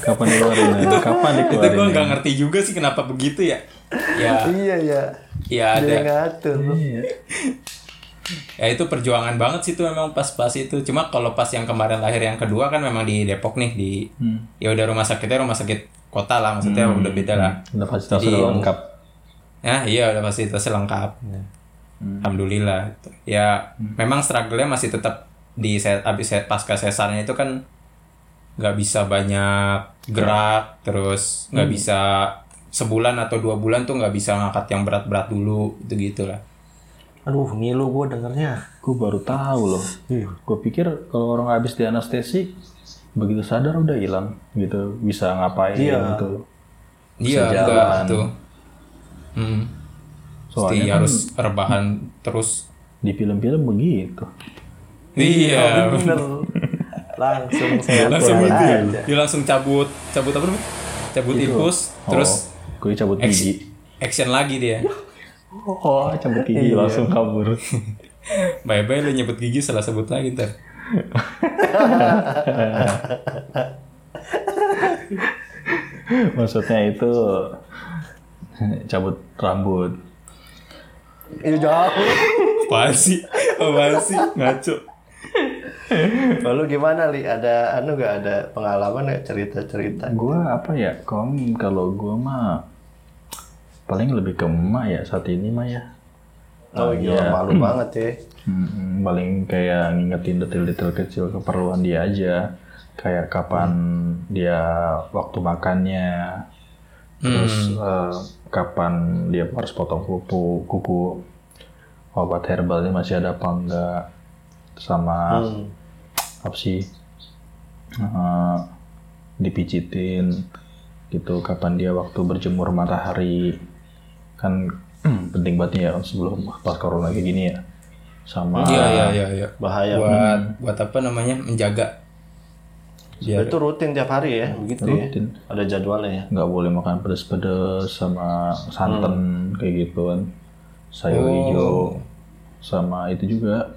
[SPEAKER 3] Kapan dikeluarin? ya? Kapan
[SPEAKER 2] <laughs> Itu
[SPEAKER 3] dikeluarin?
[SPEAKER 2] gue
[SPEAKER 3] ya?
[SPEAKER 2] nggak ngerti juga sih kenapa begitu ya. Ya,
[SPEAKER 1] Iya, iya.
[SPEAKER 2] ya
[SPEAKER 1] Ada
[SPEAKER 2] ada.
[SPEAKER 1] ngatur.
[SPEAKER 3] Iya.
[SPEAKER 2] Ya itu perjuangan banget sih tuh memang pas-pas itu. Cuma kalau pas yang kemarin lahir yang kedua kan memang di Depok nih di
[SPEAKER 3] Hmm.
[SPEAKER 2] ya udah rumah sakitnya rumah sakit kota lah maksudnya
[SPEAKER 1] Hmm.
[SPEAKER 2] udah beda lah.
[SPEAKER 3] Udah fasilitas
[SPEAKER 2] Jadi-
[SPEAKER 3] udah lengkap. Iya.
[SPEAKER 2] Nah, iya udah fasilitasnya lengkap. Alhamdulillah. Ya, memang struggle-nya masih tetap di set abis set pasca sesarnya itu kan nggak bisa banyak gerak, terus nggak bisa sebulan atau dua bulan tuh nggak bisa ngangkat yang berat-berat dulu gitu gitulah.
[SPEAKER 1] Aduh, ngilu gua dengernya.
[SPEAKER 3] Gue baru tahu loh. Gue pikir kalau orang habis di anestesi begitu sadar udah hilang gitu bisa ngapain gitu
[SPEAKER 2] Iya, enggak tuh. Hmm. Mesti
[SPEAKER 3] soalnya
[SPEAKER 2] harus rebahan terus.
[SPEAKER 3] di film-film begitu
[SPEAKER 2] Iya,
[SPEAKER 1] Oh, Bener. Langsung saya
[SPEAKER 2] langsung
[SPEAKER 1] keluar
[SPEAKER 2] itu ya.
[SPEAKER 1] Iya, aja.
[SPEAKER 2] Dia langsung cabut, cabut apa namanya? Cabut infus, terus
[SPEAKER 3] gue Oh, cabut gigi
[SPEAKER 2] action lagi dia.
[SPEAKER 3] oh cabut gigi langsung kabur <laughs>
[SPEAKER 2] Bye bye lu nyebut gigi salah sebut lagi ntar.
[SPEAKER 3] maksudnya itu <laughs> cabut rambut
[SPEAKER 1] Iya, jauh.
[SPEAKER 2] Apaan sih? Apaan sih? Ngaco.
[SPEAKER 1] Lalu gimana Li? Ada anu gak ada pengalaman nggak cerita-cerita?
[SPEAKER 3] gue apa ya kom kalau gue mah paling lebih ke emak ya saat ini mah ya
[SPEAKER 1] Oh iya, malu banget ya.
[SPEAKER 3] Mm-mm, paling kayak ngingetin detail-detail kecil keperluan dia aja kayak kapan dia waktu makannya terus eh, kapan dia harus potong kuku kuku obat herbalnya masih ada apa enggak sama
[SPEAKER 1] Hmm.
[SPEAKER 3] apa sih eh, dipicitin gitu kapan dia waktu berjemur matahari kan <clears throat> penting banget ya sebelum pas corona kayak gini ya sama
[SPEAKER 2] Iya iya iya iya.
[SPEAKER 1] Bahaya.
[SPEAKER 2] Buat buat apa namanya menjaga. Biar
[SPEAKER 1] Itu rutin tiap hari ya, begitu
[SPEAKER 2] Iya.
[SPEAKER 3] Rutin.
[SPEAKER 1] ya. Ada jadwalnya ya.
[SPEAKER 3] nggak boleh makan pedes-pedes sama
[SPEAKER 2] Hmm.
[SPEAKER 3] santan kayak gitu kan sayur
[SPEAKER 2] Oh.
[SPEAKER 3] hijau sama itu juga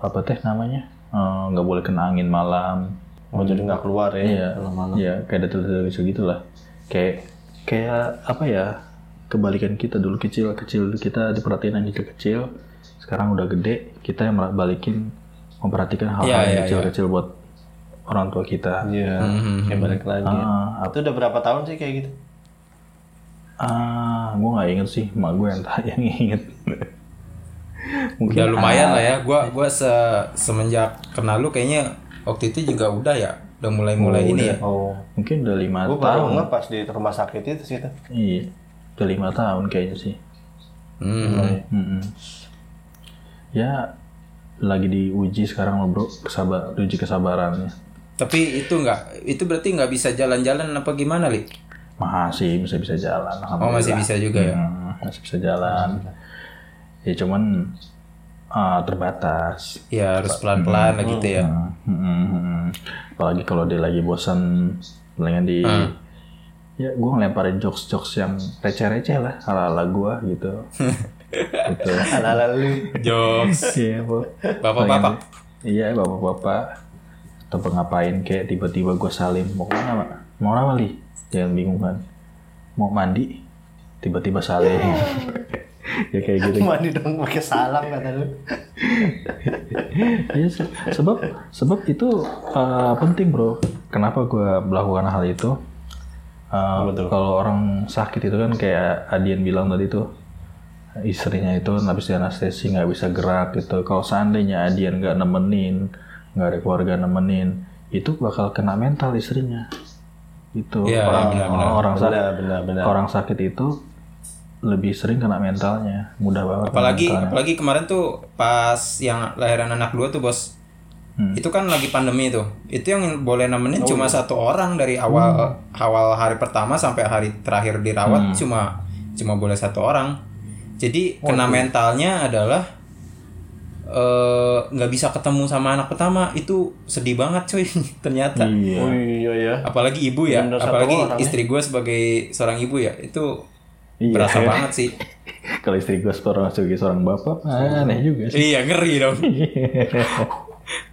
[SPEAKER 3] apa teh namanya Eh, nggak boleh kena angin malam
[SPEAKER 1] Oh, jadi nggak keluar ya.
[SPEAKER 3] Iya,
[SPEAKER 1] malam-malam.
[SPEAKER 3] iya kayak detail-detail kecil gitu lah. Kayak kayak apa ya? Kebalikan kita dulu kecil kecil kita diperhatiin yang kecil kecil. Sekarang udah gede, kita yang mer- balikin memperhatikan hal-hal
[SPEAKER 2] Iya,
[SPEAKER 3] yang
[SPEAKER 2] iya,
[SPEAKER 3] kecil kecil buat orang tua kita.
[SPEAKER 1] Iya. Kayak balik lagi.
[SPEAKER 3] hmm, Ah,
[SPEAKER 1] Itu udah berapa tahun sih kayak gitu?
[SPEAKER 3] ah, gue nggak inget sih, mak gue yang <laughs> yang inget. Mungkin
[SPEAKER 2] udah lumayan lah ya. Gua gua se- semenjak kenal lu kayaknya waktu itu juga udah ya. Udah mulai-mulai ini ya.
[SPEAKER 1] Oh.
[SPEAKER 3] mungkin udah lima
[SPEAKER 1] Gue
[SPEAKER 3] tahun.
[SPEAKER 1] baru nge pas di rumah sakit itu sih. tuh.
[SPEAKER 3] Iya, udah lima tahun kayaknya sih.
[SPEAKER 2] Hmm.
[SPEAKER 3] Mm-mm. Ya lagi diuji sekarang loh bro kesabar uji kesabarannya
[SPEAKER 2] Tapi itu nggak itu berarti nggak bisa jalan-jalan apa gimana, Li?
[SPEAKER 3] masih bisa bisa jalan
[SPEAKER 2] Oh,
[SPEAKER 3] alhamdulillah.
[SPEAKER 2] masih bisa juga ya.
[SPEAKER 3] Mm, masih bisa jalan ya cuman ah, terbatas
[SPEAKER 2] Ya harus pelan-pelan lah gitu ya.
[SPEAKER 3] Mm, mm, mm. apalagi kalau dia lagi bosan palingan di ya gue ngelemparin jokes jokes yang receh receh lah ala ala gue gitu gitu
[SPEAKER 1] Ala-ala lu.
[SPEAKER 2] Jokes.
[SPEAKER 3] Iya, Bu.
[SPEAKER 2] Bapak-bapak.
[SPEAKER 3] Iya bapak-bapak atau ngapain kayak tiba-tiba gue salim mau kemana Mak? mau apa li jangan bingung kan mau mandi tiba-tiba salim <laughs> ya kayak gitu
[SPEAKER 1] Mandi dong pakai salam kata lu.
[SPEAKER 3] Iya, se- sebab sebab itu uh, penting bro kenapa gue melakukan hal itu Uh,
[SPEAKER 1] Apa tuh?
[SPEAKER 3] kalau orang sakit itu kan kayak Adian bilang tadi tuh istrinya itu habis di anestesi nggak bisa gerak gitu kalau seandainya Adian nggak nemenin nggak ada keluarga nemenin itu bakal kena mental istrinya gitu
[SPEAKER 2] Iya,
[SPEAKER 3] orang
[SPEAKER 2] iya, benar,
[SPEAKER 3] orang sakit
[SPEAKER 1] Benar, benar, benar.
[SPEAKER 3] orang sakit itu lebih sering kena mentalnya mudah banget kena
[SPEAKER 2] apalagi
[SPEAKER 3] mentalnya.
[SPEAKER 2] apalagi kemarin tuh pas yang lahiran anak dua tuh bos itu kan lagi pandemi tuh itu yang boleh nemenin cuma satu orang dari awal awal hari pertama sampai hari terakhir dirawat cuma cuma boleh satu orang jadi kena mentalnya adalah eh, nggak bisa ketemu sama anak pertama itu sedih banget cuy <laughs> ternyata
[SPEAKER 3] Iya.
[SPEAKER 1] Oh iya ya.
[SPEAKER 2] apalagi ibu ya
[SPEAKER 1] Bener, satu
[SPEAKER 2] apalagi
[SPEAKER 1] orang ya.
[SPEAKER 2] istri gue sebagai seorang ibu ya itu
[SPEAKER 3] Iya.
[SPEAKER 2] berasa banget sih
[SPEAKER 3] Kalau istri gue seorang sebagai seorang bapak, aneh juga
[SPEAKER 2] <laughs>
[SPEAKER 3] sih.
[SPEAKER 2] iya ngeri dong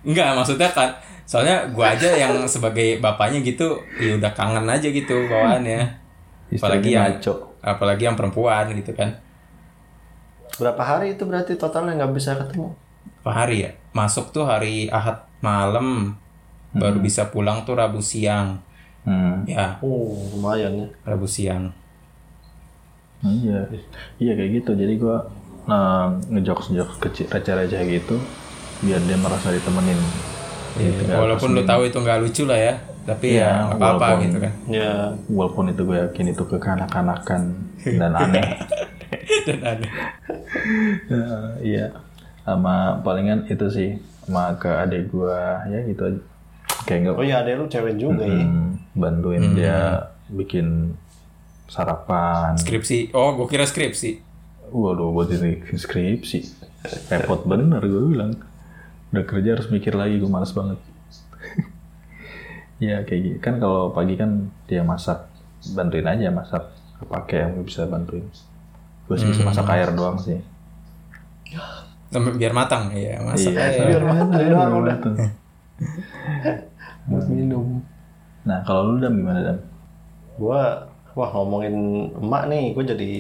[SPEAKER 2] Enggak, maksudnya kan soalnya gua aja yang sebagai bapaknya gitu ya udah kangen aja gitu bawaannya.
[SPEAKER 3] Hmm.
[SPEAKER 2] Apalagi
[SPEAKER 3] Istrinya
[SPEAKER 2] yang
[SPEAKER 3] ngaco.
[SPEAKER 2] apalagi yang perempuan gitu kan.
[SPEAKER 1] Berapa hari itu berarti totalnya nggak bisa ketemu?
[SPEAKER 2] Apa hari ya? Masuk tuh hari Ahad malam. Baru bisa pulang tuh Rabu siang.
[SPEAKER 3] Hmm,
[SPEAKER 2] Ya,
[SPEAKER 1] Oh lumayan ya.
[SPEAKER 2] Rabu siang.
[SPEAKER 3] iya, iya kayak gitu. Jadi gue nah, ngejokes ngejokes kecil, receh-receh gitu, biar dia merasa ditemenin. Gitu, nggak
[SPEAKER 2] Ya, Walaupun lu tahu itu nggak lucu lah ya, tapi
[SPEAKER 3] Iya,
[SPEAKER 2] ya nggak apa-apa
[SPEAKER 3] walaupun-
[SPEAKER 2] gitu kan. <laughs>
[SPEAKER 1] Ya.
[SPEAKER 3] Walaupun itu gue yakin itu kekanak-kanakan dan aneh.
[SPEAKER 2] Dan aneh.
[SPEAKER 3] Eh, iya, sama palingan itu sih, sama ke adik gue ya gitu aja. Kayak nggak
[SPEAKER 1] Oh iya ada lu cewek juga ya.
[SPEAKER 3] Hmm, bantuin dia bikin sarapan.
[SPEAKER 2] Skripsi. Oh, gua kira skripsi.
[SPEAKER 3] Waduh, buat ini skripsi. Repot bener gue bilang. Udah kerja harus mikir lagi, gue males banget. <laughs> ya kayak gitu. Kan kalau pagi kan dia masak, bantuin aja masak. Apa kayak yang bisa bantuin. Gue sih
[SPEAKER 2] Hmm.
[SPEAKER 3] bisa masak air doang sih.
[SPEAKER 2] Sampai biar matang ya,
[SPEAKER 3] Iya,
[SPEAKER 2] masa.
[SPEAKER 1] biar matang doang udah.
[SPEAKER 3] matang. Mm-hmm.
[SPEAKER 1] Buat minum.
[SPEAKER 3] Nah, kalau lu dam gimana dam?
[SPEAKER 1] Gua wah ngomongin emak nih, gue jadi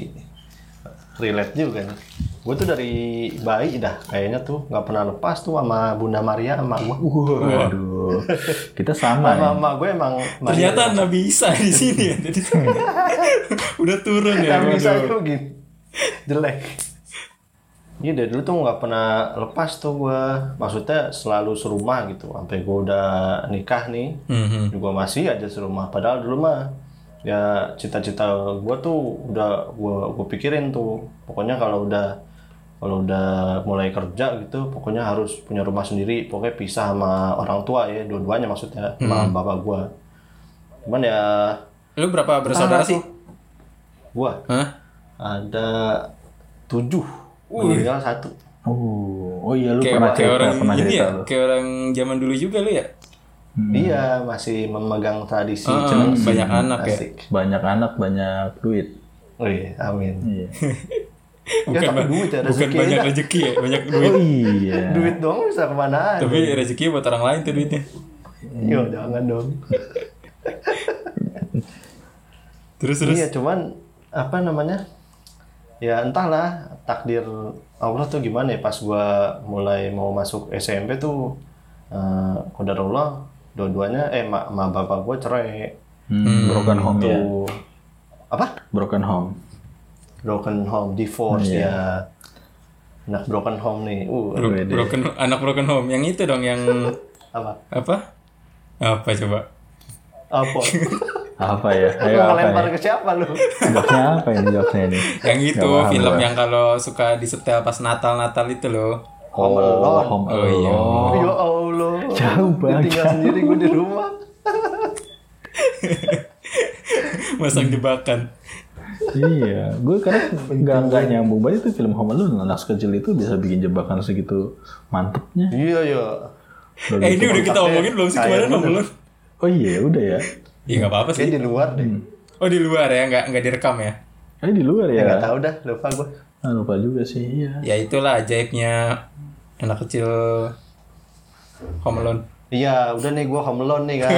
[SPEAKER 1] relate juga nih. Gue tuh dari bayi dah kayaknya tuh nggak pernah lepas tuh sama Bunda Maria sama gue.
[SPEAKER 3] Waduh, betul. Kita sama.
[SPEAKER 1] Mama,
[SPEAKER 3] ya.
[SPEAKER 1] mama gue emang
[SPEAKER 2] Ternyata nggak bisa di sini ya.
[SPEAKER 3] <laughs>
[SPEAKER 2] Jadi udah turun ya.
[SPEAKER 1] Yang bisa
[SPEAKER 2] waduh.
[SPEAKER 1] itu gini. <laughs> Jelek. Iya dari dulu tuh nggak pernah lepas tuh gue. Maksudnya selalu serumah gitu. Sampai gue udah nikah nih.
[SPEAKER 2] Mhm.
[SPEAKER 1] Juga masih aja serumah. Padahal dulu mah ya cita-cita gue tuh udah gue gue pikirin tuh. Pokoknya kalau udah kalau udah mulai kerja gitu, pokoknya harus punya rumah sendiri. Pokoknya pisah sama orang tua ya, dua-duanya maksudnya,
[SPEAKER 2] Hmm.
[SPEAKER 1] sama bapak gue. Cuman ya,
[SPEAKER 2] Lu berapa bersaudara sih?
[SPEAKER 1] gue
[SPEAKER 2] Hah?
[SPEAKER 1] ada tujuh meninggal satu
[SPEAKER 3] Oh, oh iya lu
[SPEAKER 2] Kayak,
[SPEAKER 3] pernah
[SPEAKER 2] kayak
[SPEAKER 3] cerita,
[SPEAKER 2] orang
[SPEAKER 3] pernah
[SPEAKER 2] ini
[SPEAKER 3] cerita
[SPEAKER 2] ya,
[SPEAKER 3] lu.
[SPEAKER 2] kayak orang zaman dulu juga lu ya.
[SPEAKER 1] dia masih memegang tradisi
[SPEAKER 2] Ah,
[SPEAKER 1] celeng sih.
[SPEAKER 2] banyak anak ya.
[SPEAKER 1] Asik.
[SPEAKER 3] Banyak anak, banyak duit.
[SPEAKER 1] Wih, amin <laughs> ya
[SPEAKER 3] Iya.
[SPEAKER 1] tapi
[SPEAKER 2] ba-
[SPEAKER 1] duit ya
[SPEAKER 2] bukan
[SPEAKER 1] rezeki
[SPEAKER 2] banyak
[SPEAKER 1] aja.
[SPEAKER 2] rezeki ya, banyak duit.
[SPEAKER 3] Oh iya.
[SPEAKER 1] duit doang bisa kemana
[SPEAKER 2] Tapi rezekinya buat orang lain tuh duitnya.
[SPEAKER 1] yo jangan dong
[SPEAKER 2] Terus terus.
[SPEAKER 1] iya cuman apa namanya ya entahlah takdir Allah tuh gimana ya pas gua mulai mau masuk SMP tuh eh kodarullah dua-duanya eh ma, ma bapak gua cerai
[SPEAKER 3] Hmm, broken home ya.
[SPEAKER 1] tuh apa
[SPEAKER 3] Broken home.
[SPEAKER 1] broken home divorce
[SPEAKER 3] Iya.
[SPEAKER 1] ya anak broken home nih uh
[SPEAKER 2] Bro- broken anak broken home yang itu dong yang
[SPEAKER 1] apa
[SPEAKER 2] apa? Apa coba?
[SPEAKER 1] apa
[SPEAKER 3] Apa ya?
[SPEAKER 1] lu
[SPEAKER 3] <laughs> Ayo apa
[SPEAKER 1] ngelempar
[SPEAKER 3] ya?
[SPEAKER 1] ke siapa lu
[SPEAKER 3] Joknya apa ini joknya
[SPEAKER 1] <laughs>
[SPEAKER 3] ini?
[SPEAKER 2] Yang itu
[SPEAKER 3] Nggak paham
[SPEAKER 2] film
[SPEAKER 3] gua.
[SPEAKER 2] yang kalau suka disetel pas Natal-Natal itu loh. <laughs>
[SPEAKER 1] Home Alone.
[SPEAKER 3] home
[SPEAKER 2] Oh, iya.
[SPEAKER 3] alone.
[SPEAKER 1] ya allah
[SPEAKER 3] Jauh banget.
[SPEAKER 1] tinggal sendiri gue di rumah
[SPEAKER 2] Masang jebakan.
[SPEAKER 3] iya, gue kadang nggak nggak nyambung banget itu film Home Alone anak kecil itu bisa bikin jebakan segitu mantepnya.
[SPEAKER 1] iya ya
[SPEAKER 3] Udah
[SPEAKER 2] Eh
[SPEAKER 3] gitu.
[SPEAKER 2] ini udah kita omongin belum sih kemarin belum belum?
[SPEAKER 3] Oh iya, udah ya.
[SPEAKER 2] Iya nggak apa-apa sih.
[SPEAKER 1] kayak di luar deh
[SPEAKER 3] Hmm,
[SPEAKER 2] Oh di luar ya, nggak nggak direkam ya?
[SPEAKER 3] Eh di luar ya.
[SPEAKER 1] nggak tahu dah lupa gue
[SPEAKER 3] Ah, lupa juga sih,
[SPEAKER 1] <laughs>
[SPEAKER 3] iya.
[SPEAKER 2] Ya itulah ajaibnya anak kecil Home Alone.
[SPEAKER 1] iya udah nih gue home alone nih
[SPEAKER 3] <laughs>
[SPEAKER 1] kan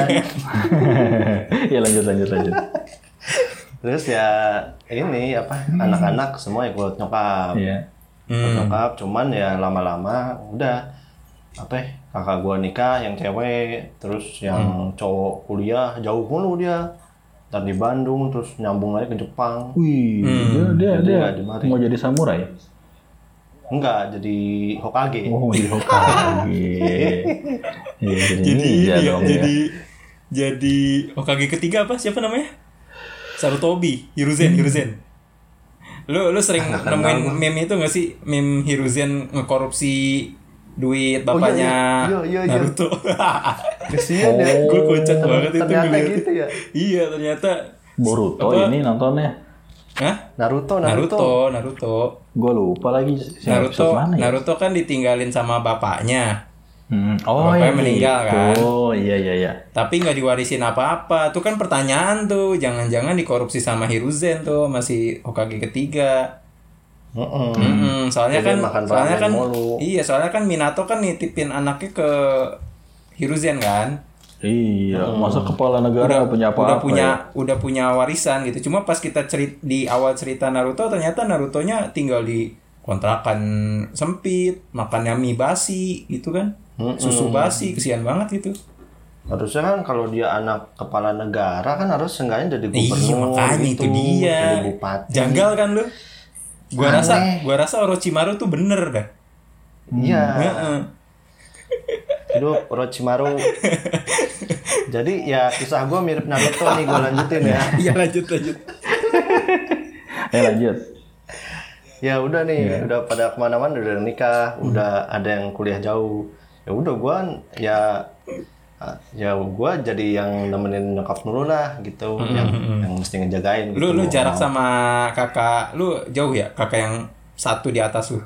[SPEAKER 3] ya lanjut lanjut lanjut.
[SPEAKER 1] terus ya ini apa
[SPEAKER 3] Hmm.
[SPEAKER 1] anak-anak semua ikut nyokap
[SPEAKER 3] Iya.
[SPEAKER 2] Hmm.
[SPEAKER 1] Ikut nyokap cuman ya lama-lama udah apa ya, kakak gua nikah yang cewek terus
[SPEAKER 2] Hmm.
[SPEAKER 1] yang cowok kuliah jauh mulu dia ntar di Bandung terus nyambung lagi ke Jepang
[SPEAKER 3] Wih,
[SPEAKER 2] Hmm,
[SPEAKER 3] dia
[SPEAKER 1] Jadi
[SPEAKER 3] dia,
[SPEAKER 1] nggak
[SPEAKER 3] dia
[SPEAKER 1] dimari.
[SPEAKER 3] mau jadi samurai.
[SPEAKER 1] enggak jadi Hokage
[SPEAKER 3] Oh, mau jadi
[SPEAKER 2] <laughs>
[SPEAKER 3] Hokage. Iya, jadi,
[SPEAKER 2] Jadi ini
[SPEAKER 3] ninja
[SPEAKER 2] ya,
[SPEAKER 3] dong ya.
[SPEAKER 2] jadi jadi Hokage ketiga apa? Siapa namanya? Sarutobi,
[SPEAKER 1] Hmm.
[SPEAKER 2] Hiruzen, Hiruzen. Lu lu sering nemuin meme itu gak sih? Meme Hiruzen ngekorupsi duit bapaknya
[SPEAKER 1] iya, iya, iya.
[SPEAKER 2] Naruto.
[SPEAKER 1] kesian ya
[SPEAKER 2] Gue kocak banget itu
[SPEAKER 1] ternyata
[SPEAKER 2] ngeliat.
[SPEAKER 1] gitu ya
[SPEAKER 2] Iya, ternyata.
[SPEAKER 3] Boruto
[SPEAKER 2] Apa?
[SPEAKER 3] ini nontonnya.
[SPEAKER 2] Hah?
[SPEAKER 1] Naruto Oh, Naruto,
[SPEAKER 2] Naruto, Naruto.
[SPEAKER 3] Gue lupa lagi si
[SPEAKER 2] Naruto,
[SPEAKER 3] episode mana ya?
[SPEAKER 2] Naruto kan ditinggalin sama bapaknya,
[SPEAKER 3] Hmm, Oh,
[SPEAKER 2] Bapaknya
[SPEAKER 3] iya,
[SPEAKER 2] meninggal,
[SPEAKER 3] gitu.
[SPEAKER 2] kan?
[SPEAKER 3] Oh, iya iya iya.
[SPEAKER 2] tapi nggak diwarisin apa-apa. Tuh kan pertanyaan tuh, jangan-jangan dikorupsi sama Hiruzen tuh masih Hokage ketiga.
[SPEAKER 1] Mm-mm.
[SPEAKER 2] Mm-mm, soalnya
[SPEAKER 1] Hmm. Jadi
[SPEAKER 2] kan,
[SPEAKER 1] makan
[SPEAKER 2] soalnya
[SPEAKER 1] ramen
[SPEAKER 2] kan,
[SPEAKER 1] mulu.
[SPEAKER 2] iya soalnya kan Minato kan nitipin anaknya ke Hiruzen kan.
[SPEAKER 3] Iya, masa kepala negara punya ya. apa?
[SPEAKER 2] Hmm. udah punya udah punya warisan gitu. Cuma pas kita cerit di awal cerita Naruto ternyata Narutonya tinggal di kontrakan sempit, makannya mie basi gitu kan. Susu basi, kesian banget gitu.
[SPEAKER 1] harusnya kan kalau dia anak kepala negara kan harus seenggaknya jadi gubernur
[SPEAKER 2] Iya makanya
[SPEAKER 1] gitu,
[SPEAKER 2] itu dia.
[SPEAKER 1] jadi bupati
[SPEAKER 2] Janggal kan lu? Gua
[SPEAKER 1] Aneh.
[SPEAKER 2] rasa gua rasa Orochimaru tuh bener dah.
[SPEAKER 1] iya
[SPEAKER 2] Heeh.
[SPEAKER 1] hidup
[SPEAKER 2] <laughs>
[SPEAKER 1] Orochimaru jadi ya kisah gue mirip Naruto nih gue lanjutin
[SPEAKER 2] <laughs>
[SPEAKER 1] ya
[SPEAKER 2] Iya lanjut lanjut.
[SPEAKER 3] Eh lanjut.
[SPEAKER 1] ya udah nih udah pada kemana-mana udah nikah udah ada yang kuliah jauh ya udah gue ya ya gue jadi yang nemenin nyokap dulu lah gitu yang yang mesti ngejagain gitu
[SPEAKER 2] Lu lu jarak sama kakak lu jauh ya? Kakak yang satu di atas lu.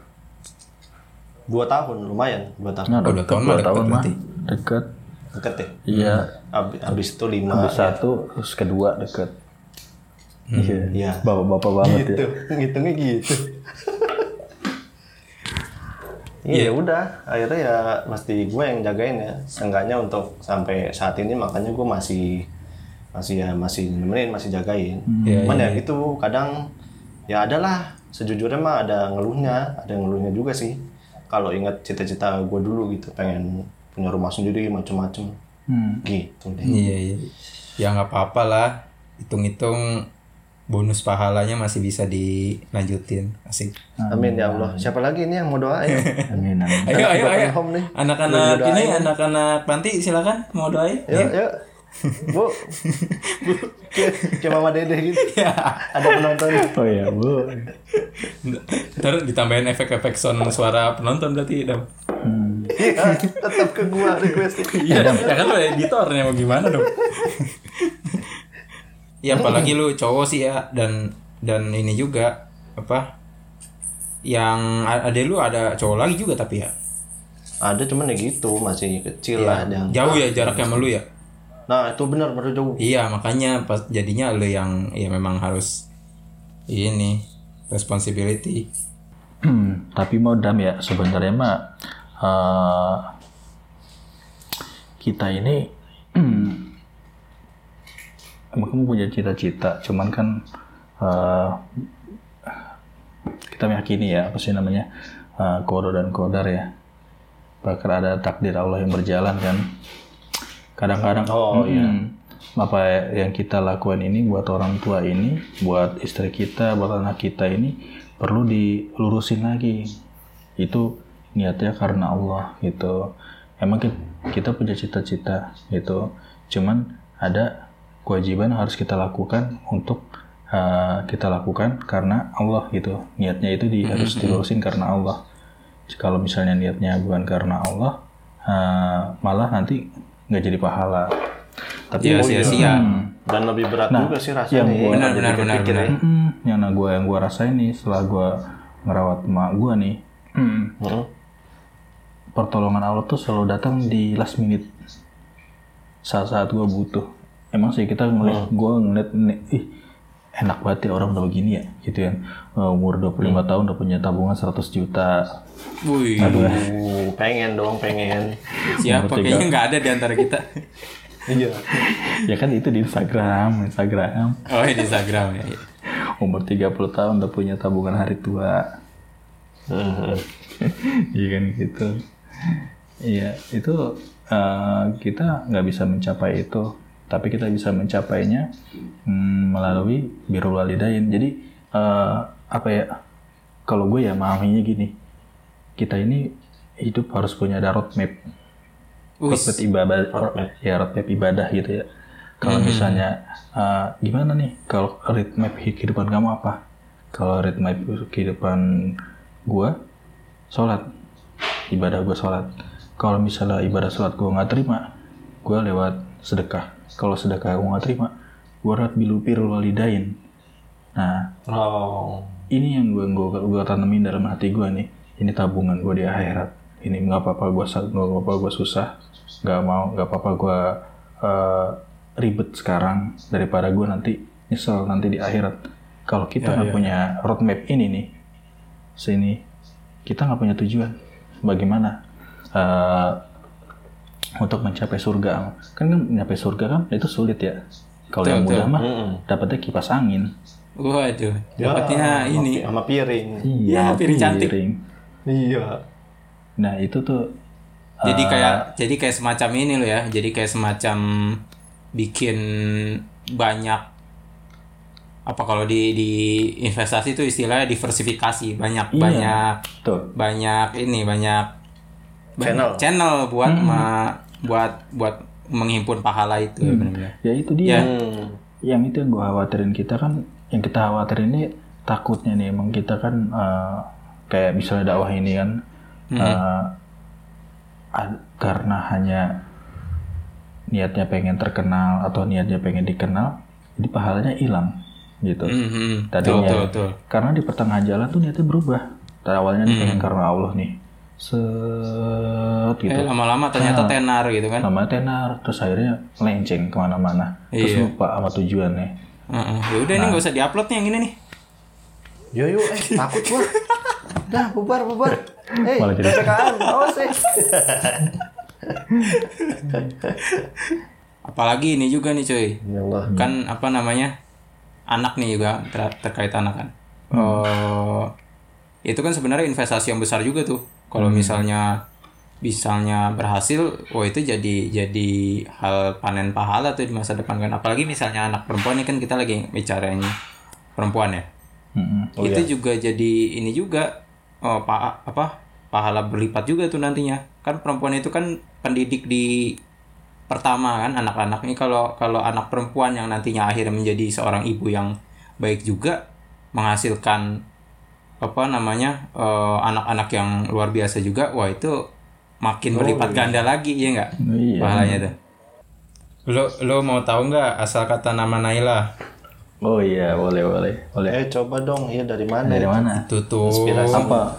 [SPEAKER 1] dua tahun lumayan dua tahun
[SPEAKER 3] Nah,
[SPEAKER 2] Oh, dua
[SPEAKER 3] deket,
[SPEAKER 2] tahun mah
[SPEAKER 3] dua
[SPEAKER 2] deket
[SPEAKER 3] tahun mah.
[SPEAKER 2] berarti.
[SPEAKER 3] Deket.
[SPEAKER 1] deket deh
[SPEAKER 3] Iya.
[SPEAKER 1] Ab- abis itu lima
[SPEAKER 3] Terus satu, terus kedua deket.
[SPEAKER 2] Hmm.
[SPEAKER 3] Iya.
[SPEAKER 1] Iya.
[SPEAKER 3] Bapak-bapak <laughs> banget
[SPEAKER 1] gitu
[SPEAKER 3] ya.
[SPEAKER 1] ngitungnya gitu Iya udah akhirnya ya mesti gue yang jagain ya seenggaknya untuk sampai saat ini makanya gue masih masih ya masih nemenin masih jagain
[SPEAKER 2] Iya,
[SPEAKER 1] cuman ya gitu kadang ya adalah sejujurnya mah ada ngeluhnya ada ngeluhnya juga sih kalau ingat cita-cita gue dulu gitu pengen punya rumah sendiri macem-macem
[SPEAKER 3] Hmm.
[SPEAKER 1] gitu deh
[SPEAKER 2] Iya iya. Ya nggak apa-apa lah. Hitung-hitung bonus pahalanya masih bisa dilanjutin. Asik.
[SPEAKER 1] amin ya Allah siapa lagi ini yang mau doain
[SPEAKER 3] Amin, amin.
[SPEAKER 2] Ayo ayo
[SPEAKER 1] Buat
[SPEAKER 2] ayo.
[SPEAKER 1] home nih.
[SPEAKER 2] Anak-anak ini anak-anak panti silakan mau doain.
[SPEAKER 1] yuk yuk Iya. bu Kayak- kayak mama dede gitu ada penonton
[SPEAKER 3] Oh ya, Bu.
[SPEAKER 2] Ntar ditambahin efek-efek sound suara penonton berarti dam.
[SPEAKER 1] iya tetap ke gua request
[SPEAKER 2] Iya ya kan lo editornya mau gimana dong? ya apalagi lu cowok sih ya dan dan ini juga apa yang a- ada lu ada cowok lagi juga tapi ya
[SPEAKER 1] ada cuman ya gitu masih kecil lah dia.
[SPEAKER 2] jauh ya jaraknya sama lu ya
[SPEAKER 1] nah itu benar baru jauh
[SPEAKER 2] iya makanya pas jadinya lu yang ya memang harus ini responsibility
[SPEAKER 3] Hmm, tapi mau dam ya sebenarnya mah eh, kita ini hmm, emang kamu punya cita-cita, cuman kan eh, kita meyakini ya apa sih namanya eh, kodo dan kodar ya, bakal ada takdir Allah yang berjalan kan. Kadang-kadang
[SPEAKER 1] Oh, iya.
[SPEAKER 3] Hmm. apa yang kita lakukan ini buat orang tua ini, buat istri kita, buat anak kita ini perlu dilurusin lagi. Itu niatnya karena Allah gitu. Emang ki- kita, punya cita-cita gitu. Cuman ada kewajiban harus kita lakukan untuk uh, kita lakukan karena Allah gitu. Niatnya itu di, harus dilurusin karena Allah. Kalau misalnya niatnya bukan karena Allah, uh, malah nanti nggak jadi pahala. Tapi
[SPEAKER 2] ya sia-sia
[SPEAKER 3] Hmm.
[SPEAKER 1] dan lebih berat juga sih
[SPEAKER 3] yang
[SPEAKER 1] rasanya
[SPEAKER 3] gua-
[SPEAKER 2] Nah, benar benar benar
[SPEAKER 1] pikir
[SPEAKER 2] benar
[SPEAKER 1] ya.
[SPEAKER 3] Mm-mm. yang gue yang gua rasain nih setelah gue ngerawat emak gue nih mm,
[SPEAKER 1] Heeh.
[SPEAKER 3] pertolongan Allah tuh selalu datang di last minute saat-saat gue butuh emang sih kita ngeliat gue ngeliat nih, ih enak banget ya orang udah begini ya gitu ya Eh, umur 25 tahun udah punya tabungan 100 juta
[SPEAKER 2] Wih,
[SPEAKER 1] Uh, pengen dong pengen
[SPEAKER 2] siapa kayaknya nggak ada di antara kita <laughs>
[SPEAKER 1] iya
[SPEAKER 3] ya kan itu di Instagram Instagram
[SPEAKER 2] oh di Instagram ya
[SPEAKER 3] umur 30 tahun udah punya tabungan hari tua <laughs>
[SPEAKER 1] Heeh.
[SPEAKER 3] Iya kan gitu. Iya itu eh, kita nggak bisa mencapai itu, tapi kita bisa mencapainya mm, melalui birrul walidain. Jadi eh, apa ya? Kalau gue ya memahaminya gini, kita ini hidup harus punya ada roadmap,
[SPEAKER 2] Wih,
[SPEAKER 3] roadmap ibadah, ya roadmap ibadah gitu ya. Kalau misalnya eh, gimana nih? Kalau roadmap kehidupan kamu apa? Kalau roadmap kehidupan gue, sholat ibadah gue sholat kalau misalnya ibadah sholat gue nggak terima gue lewat sedekah kalau sedekah gue nggak terima gue lewat bilupir walidain nah
[SPEAKER 1] oh
[SPEAKER 3] ini yang gue gue gue tanemin dalam hati gue nih ini tabungan gue di akhirat ini nggak apa-apa gue nggak apa-apa gue susah nggak mau nggak apa-apa gue eh, ribet sekarang daripada gue nanti nyesel nanti di akhirat kalau kita
[SPEAKER 2] Ya,
[SPEAKER 3] nggak punya roadmap ini nih sini kita nggak punya tujuan bagaimana eh, untuk mencapai surga kan kan mencapai surga kan itu sulit ya kalau yang mudah mah
[SPEAKER 1] Mm-mm.
[SPEAKER 3] dapatnya kipas angin
[SPEAKER 2] Waduh,
[SPEAKER 1] Ya,
[SPEAKER 2] dapatnya
[SPEAKER 1] sama
[SPEAKER 2] ini.
[SPEAKER 1] pi- sama piring
[SPEAKER 2] Ya, piring cantik.
[SPEAKER 1] iya
[SPEAKER 3] Nah itu tuh
[SPEAKER 2] Jadi kayak jadi kayak semacam ini loh ya. Jadi kayak semacam bikin banyak apa kalau di di investasi itu istilahnya diversifikasi banyak
[SPEAKER 3] Iya.
[SPEAKER 2] banyak
[SPEAKER 3] tuh
[SPEAKER 2] banyak ini banyak
[SPEAKER 1] Channel.
[SPEAKER 2] banyak channel buat ma- buat buat menghimpun pahala itu ya benar-benar.
[SPEAKER 3] ya itu dia
[SPEAKER 1] Hmm.
[SPEAKER 3] yang itu yang gue khawatirin kita kan yang kita khawatirin ini takutnya nih emang kita kan eh, kayak misalnya dakwah ini kan eh, ad- karena hanya niatnya pengen terkenal atau niatnya pengen dikenal jadi pahalanya hilang gitu
[SPEAKER 2] Mhm. Betul,
[SPEAKER 3] tadinya
[SPEAKER 2] betul, betul.
[SPEAKER 3] karena di pertengahan jalan tuh niatnya berubah Tadi awalnya nih pengen karena Allah nih set gitu
[SPEAKER 2] Eh, lama-lama ternyata tenar gitu kan.
[SPEAKER 3] namanya tenar terus akhirnya melenceng kemana-mana
[SPEAKER 2] Iya.
[SPEAKER 3] terus lupa sama tujuannya
[SPEAKER 2] Heeh. Ya udah ini nggak usah diupload nih yang ini nih.
[SPEAKER 1] Yo yo, eh takut gua. Dah bubar bubar. Eh,
[SPEAKER 3] Malah jadi-
[SPEAKER 1] PPKM, awas eh.
[SPEAKER 2] Apalagi ini juga nih cuy.
[SPEAKER 1] Ya Allah.
[SPEAKER 2] kan apa namanya anak nih juga ter- terkait anak kan Eh, itu kan sebenarnya investasi yang besar juga tuh kalau misalnya misalnya berhasil, oh itu jadi jadi hal panen pahala tuh di masa depan kan. Apalagi misalnya anak perempuan ini kan kita lagi bicaranya perempuan ya.
[SPEAKER 3] Mm-mm.
[SPEAKER 1] Oh,
[SPEAKER 2] itu
[SPEAKER 1] iya.
[SPEAKER 2] juga jadi ini juga oh, pa- apa pahala berlipat juga tuh nantinya. Kan perempuan itu kan pendidik di pertama kan anak-anak ini kalau kalau anak perempuan yang nantinya akhirnya menjadi seorang ibu yang baik juga menghasilkan apa namanya eh, anak-anak yang luar biasa juga wah itu
[SPEAKER 1] Oh,
[SPEAKER 2] makin berlipat ganda lagi ya nggak
[SPEAKER 3] Iya.
[SPEAKER 2] pahalanya tuh lo lo mau tahu nggak asal kata nama Naila
[SPEAKER 3] Oh iya, boleh boleh boleh.
[SPEAKER 1] Eh coba dong, iya dari mana?
[SPEAKER 3] Dari mana?
[SPEAKER 2] itu tuh
[SPEAKER 3] Apa?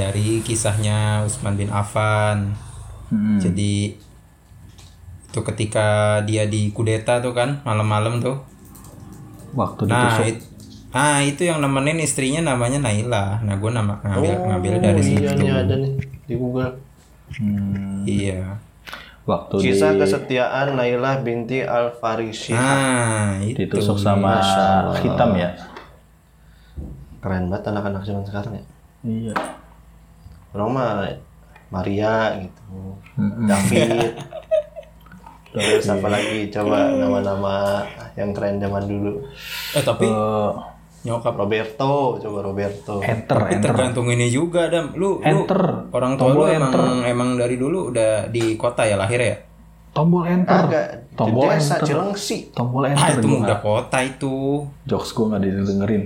[SPEAKER 2] dari kisahnya Usman bin Affan
[SPEAKER 3] Hmm.
[SPEAKER 2] jadi itu ketika dia di kudeta tuh kan malam-malam tuh
[SPEAKER 3] Waktu
[SPEAKER 2] nah
[SPEAKER 3] ditusuk.
[SPEAKER 2] it- ah itu yang nemenin istrinya namanya Naila nah gue nama ngambil
[SPEAKER 3] Oh,
[SPEAKER 2] ngambil dari situ
[SPEAKER 1] Iya nih ada nih di Google.
[SPEAKER 3] Hmm.
[SPEAKER 2] iya
[SPEAKER 3] Waktu
[SPEAKER 2] Gitu.
[SPEAKER 1] Kisah
[SPEAKER 3] di,
[SPEAKER 1] kesetiaan Nailah binti Al Farisi.
[SPEAKER 2] nah itu
[SPEAKER 3] ditusuk sama hitam ya.
[SPEAKER 1] Keren banget anak-anak zaman sekarang ya.
[SPEAKER 3] Iya.
[SPEAKER 1] Orang mah Maria gitu,
[SPEAKER 3] Mm-mm.
[SPEAKER 1] <laughs> David. Terus apa lagi? Coba nama-nama yang keren zaman dulu.
[SPEAKER 2] eh tapi
[SPEAKER 3] Eh,
[SPEAKER 2] nyokap
[SPEAKER 1] Roberto, coba Roberto.
[SPEAKER 3] enter
[SPEAKER 2] tapi
[SPEAKER 3] enter.
[SPEAKER 2] tergantung ini juga dam lu lu
[SPEAKER 3] Enter.
[SPEAKER 2] orang tua lu
[SPEAKER 3] Tombol
[SPEAKER 2] emang
[SPEAKER 3] enter.
[SPEAKER 2] emang dari dulu udah di kota ya lahir ya
[SPEAKER 3] Tombol enter.
[SPEAKER 1] Agak di
[SPEAKER 3] Tombol
[SPEAKER 1] desa
[SPEAKER 3] enter.
[SPEAKER 1] Cilengsi.
[SPEAKER 3] Tombol
[SPEAKER 2] ah
[SPEAKER 3] enter.
[SPEAKER 2] itu
[SPEAKER 3] gua
[SPEAKER 2] mah udah
[SPEAKER 3] nggak-
[SPEAKER 2] kota itu
[SPEAKER 3] Jokes gue nggak didengerin.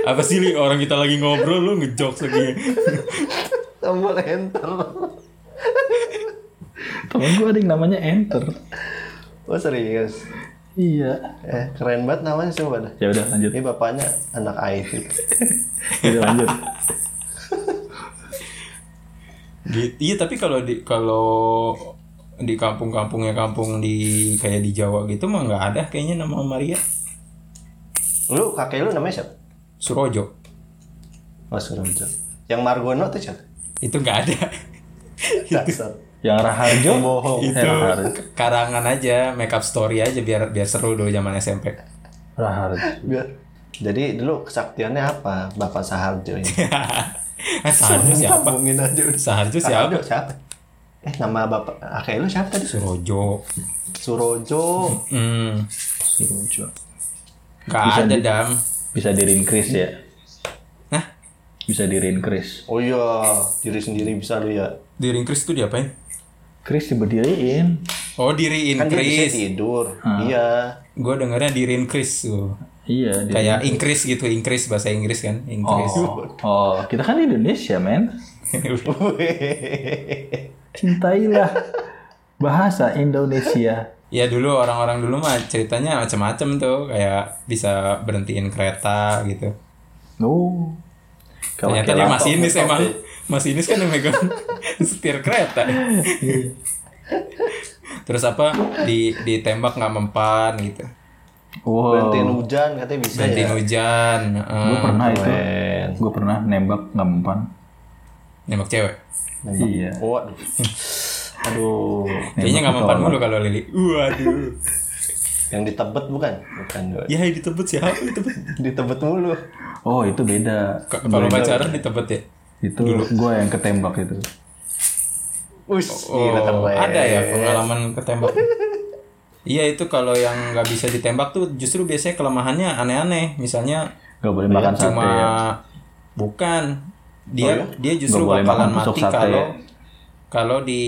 [SPEAKER 2] apa sih li orang kita lagi ngobrol lu ngejokes lagi
[SPEAKER 1] Tombol enter.
[SPEAKER 3] Temen gue ada yang namanya enter.
[SPEAKER 1] Oh serius?
[SPEAKER 3] Iya.
[SPEAKER 1] Eh keren banget namanya coba dah.
[SPEAKER 3] Ya udah lanjut.
[SPEAKER 1] Ini bapaknya anak IT.
[SPEAKER 3] Udah lanjut.
[SPEAKER 2] Gitu. Iya tapi kalau di kalau di kampung-kampungnya kampung di kayak di Jawa gitu mah nggak ada kayaknya nama Maria
[SPEAKER 1] Lu kakek lu namanya siapa?
[SPEAKER 2] Surojo
[SPEAKER 1] Mas Surojo. Yang Margono tuh siapa?
[SPEAKER 2] itu nggak ada Iya.
[SPEAKER 1] Dasar.
[SPEAKER 3] Yang Raharjo.
[SPEAKER 1] Bohong.
[SPEAKER 3] Eh,
[SPEAKER 2] itu
[SPEAKER 3] Raharjo.
[SPEAKER 2] karangan aja makeup story aja biar biar seru dulu zaman <laughs> SMP
[SPEAKER 3] Raharjo.
[SPEAKER 1] Biar. Jadi dulu kesaktiannya apa? Bapak Saharjo ini.
[SPEAKER 2] Eh, Saharjo siapa
[SPEAKER 1] Ngomongin aja udah.
[SPEAKER 2] Saharjo siapa
[SPEAKER 1] Saharjo siapa? Eh nama bapak kakek lu siapa tadi?
[SPEAKER 2] Surojo
[SPEAKER 1] Surojo.
[SPEAKER 2] hmm
[SPEAKER 3] Surojo.
[SPEAKER 2] nggak ada dam
[SPEAKER 3] Bisa di increase ya.
[SPEAKER 2] Hah?
[SPEAKER 3] Bisa di increase.
[SPEAKER 1] Oh iya, diri sendiri bisa lu ya.
[SPEAKER 2] di ring Chris tuh diapain
[SPEAKER 3] Chris diberdiriin.
[SPEAKER 2] oh diri
[SPEAKER 1] Kan dia bisa
[SPEAKER 2] Chris
[SPEAKER 1] tidur.
[SPEAKER 2] <laughs>
[SPEAKER 1] Iya.
[SPEAKER 2] gue dengernya di ring Chris tuh
[SPEAKER 3] Iya. Di...
[SPEAKER 2] kayak increase gitu increase bahasa Inggris kan increase
[SPEAKER 3] Oh. oh, kita kan di Indonesia, men. Cintailah bahasa Indonesia.
[SPEAKER 2] Ya dulu orang-orang dulu mah ceritanya macam-macam tuh kayak bisa berhentiin kereta gitu.
[SPEAKER 3] Oh. Kalau
[SPEAKER 2] Ternyata dia masinis emang. Masinis kan yang megang <laughs> setir kereta. Terus apa di ditembak nggak mempan gitu.
[SPEAKER 3] Wow.
[SPEAKER 1] Berhentiin hujan katanya bisa ya.
[SPEAKER 2] Berhentiin hujan, eh,
[SPEAKER 3] Gue pernah itu.
[SPEAKER 1] Keren.
[SPEAKER 3] Gue pernah nembak nggak mempan.
[SPEAKER 2] nembak cewek.
[SPEAKER 3] Iya.
[SPEAKER 1] Waduh. Aduh.
[SPEAKER 2] Kayaknya nggak mempan mulu kalau Lili. Waduh.
[SPEAKER 1] Yang ditebet bukan? Bukan. Doi.
[SPEAKER 2] Ya ditebet siapa ditebet?
[SPEAKER 1] Ditebet mulu.
[SPEAKER 3] Oh itu beda.
[SPEAKER 2] K- Kalau pacaran ditebet ya.
[SPEAKER 3] Itu gue yang ketembak itu.
[SPEAKER 1] Wis,
[SPEAKER 3] Iya,
[SPEAKER 2] Oh,
[SPEAKER 1] gila keren.
[SPEAKER 2] ada ya pengalaman ketembak. Iya itu kalau yang nggak bisa ditembak tuh justru biasanya kelemahannya aneh-aneh. Misalnya
[SPEAKER 3] Gak boleh makan sate
[SPEAKER 2] Iya, cuma
[SPEAKER 3] ya.
[SPEAKER 2] bukan dia dia justru
[SPEAKER 3] Oh, iya? Nggak boleh
[SPEAKER 2] bakalan
[SPEAKER 3] makan tusuk
[SPEAKER 2] mati
[SPEAKER 3] sate
[SPEAKER 2] kalau
[SPEAKER 3] ya.
[SPEAKER 2] kalau di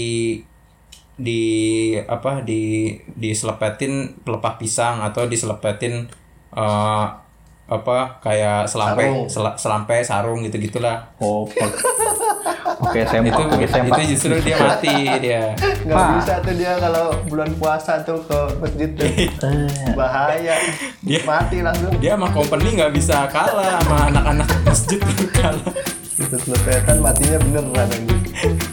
[SPEAKER 2] di apa di diselepetin pelepah pisang atau diselepetin eh, apa kayak selampe sel- selampe sarung gitu gitulah <laughs>
[SPEAKER 3] Oh, pak. Oke, sempak,
[SPEAKER 2] itu
[SPEAKER 3] pakai sempak.
[SPEAKER 2] itu justru dia mati dia
[SPEAKER 1] Nggak bisa tuh dia kalau bulan puasa tuh ke masjid tuh. Bahaya.
[SPEAKER 2] Dia-
[SPEAKER 1] Mati langsung.
[SPEAKER 2] dia sama company nggak bisa kalah sama anak-anak masjid nggak kalah
[SPEAKER 1] Terus lepetan matinya beneran anjing.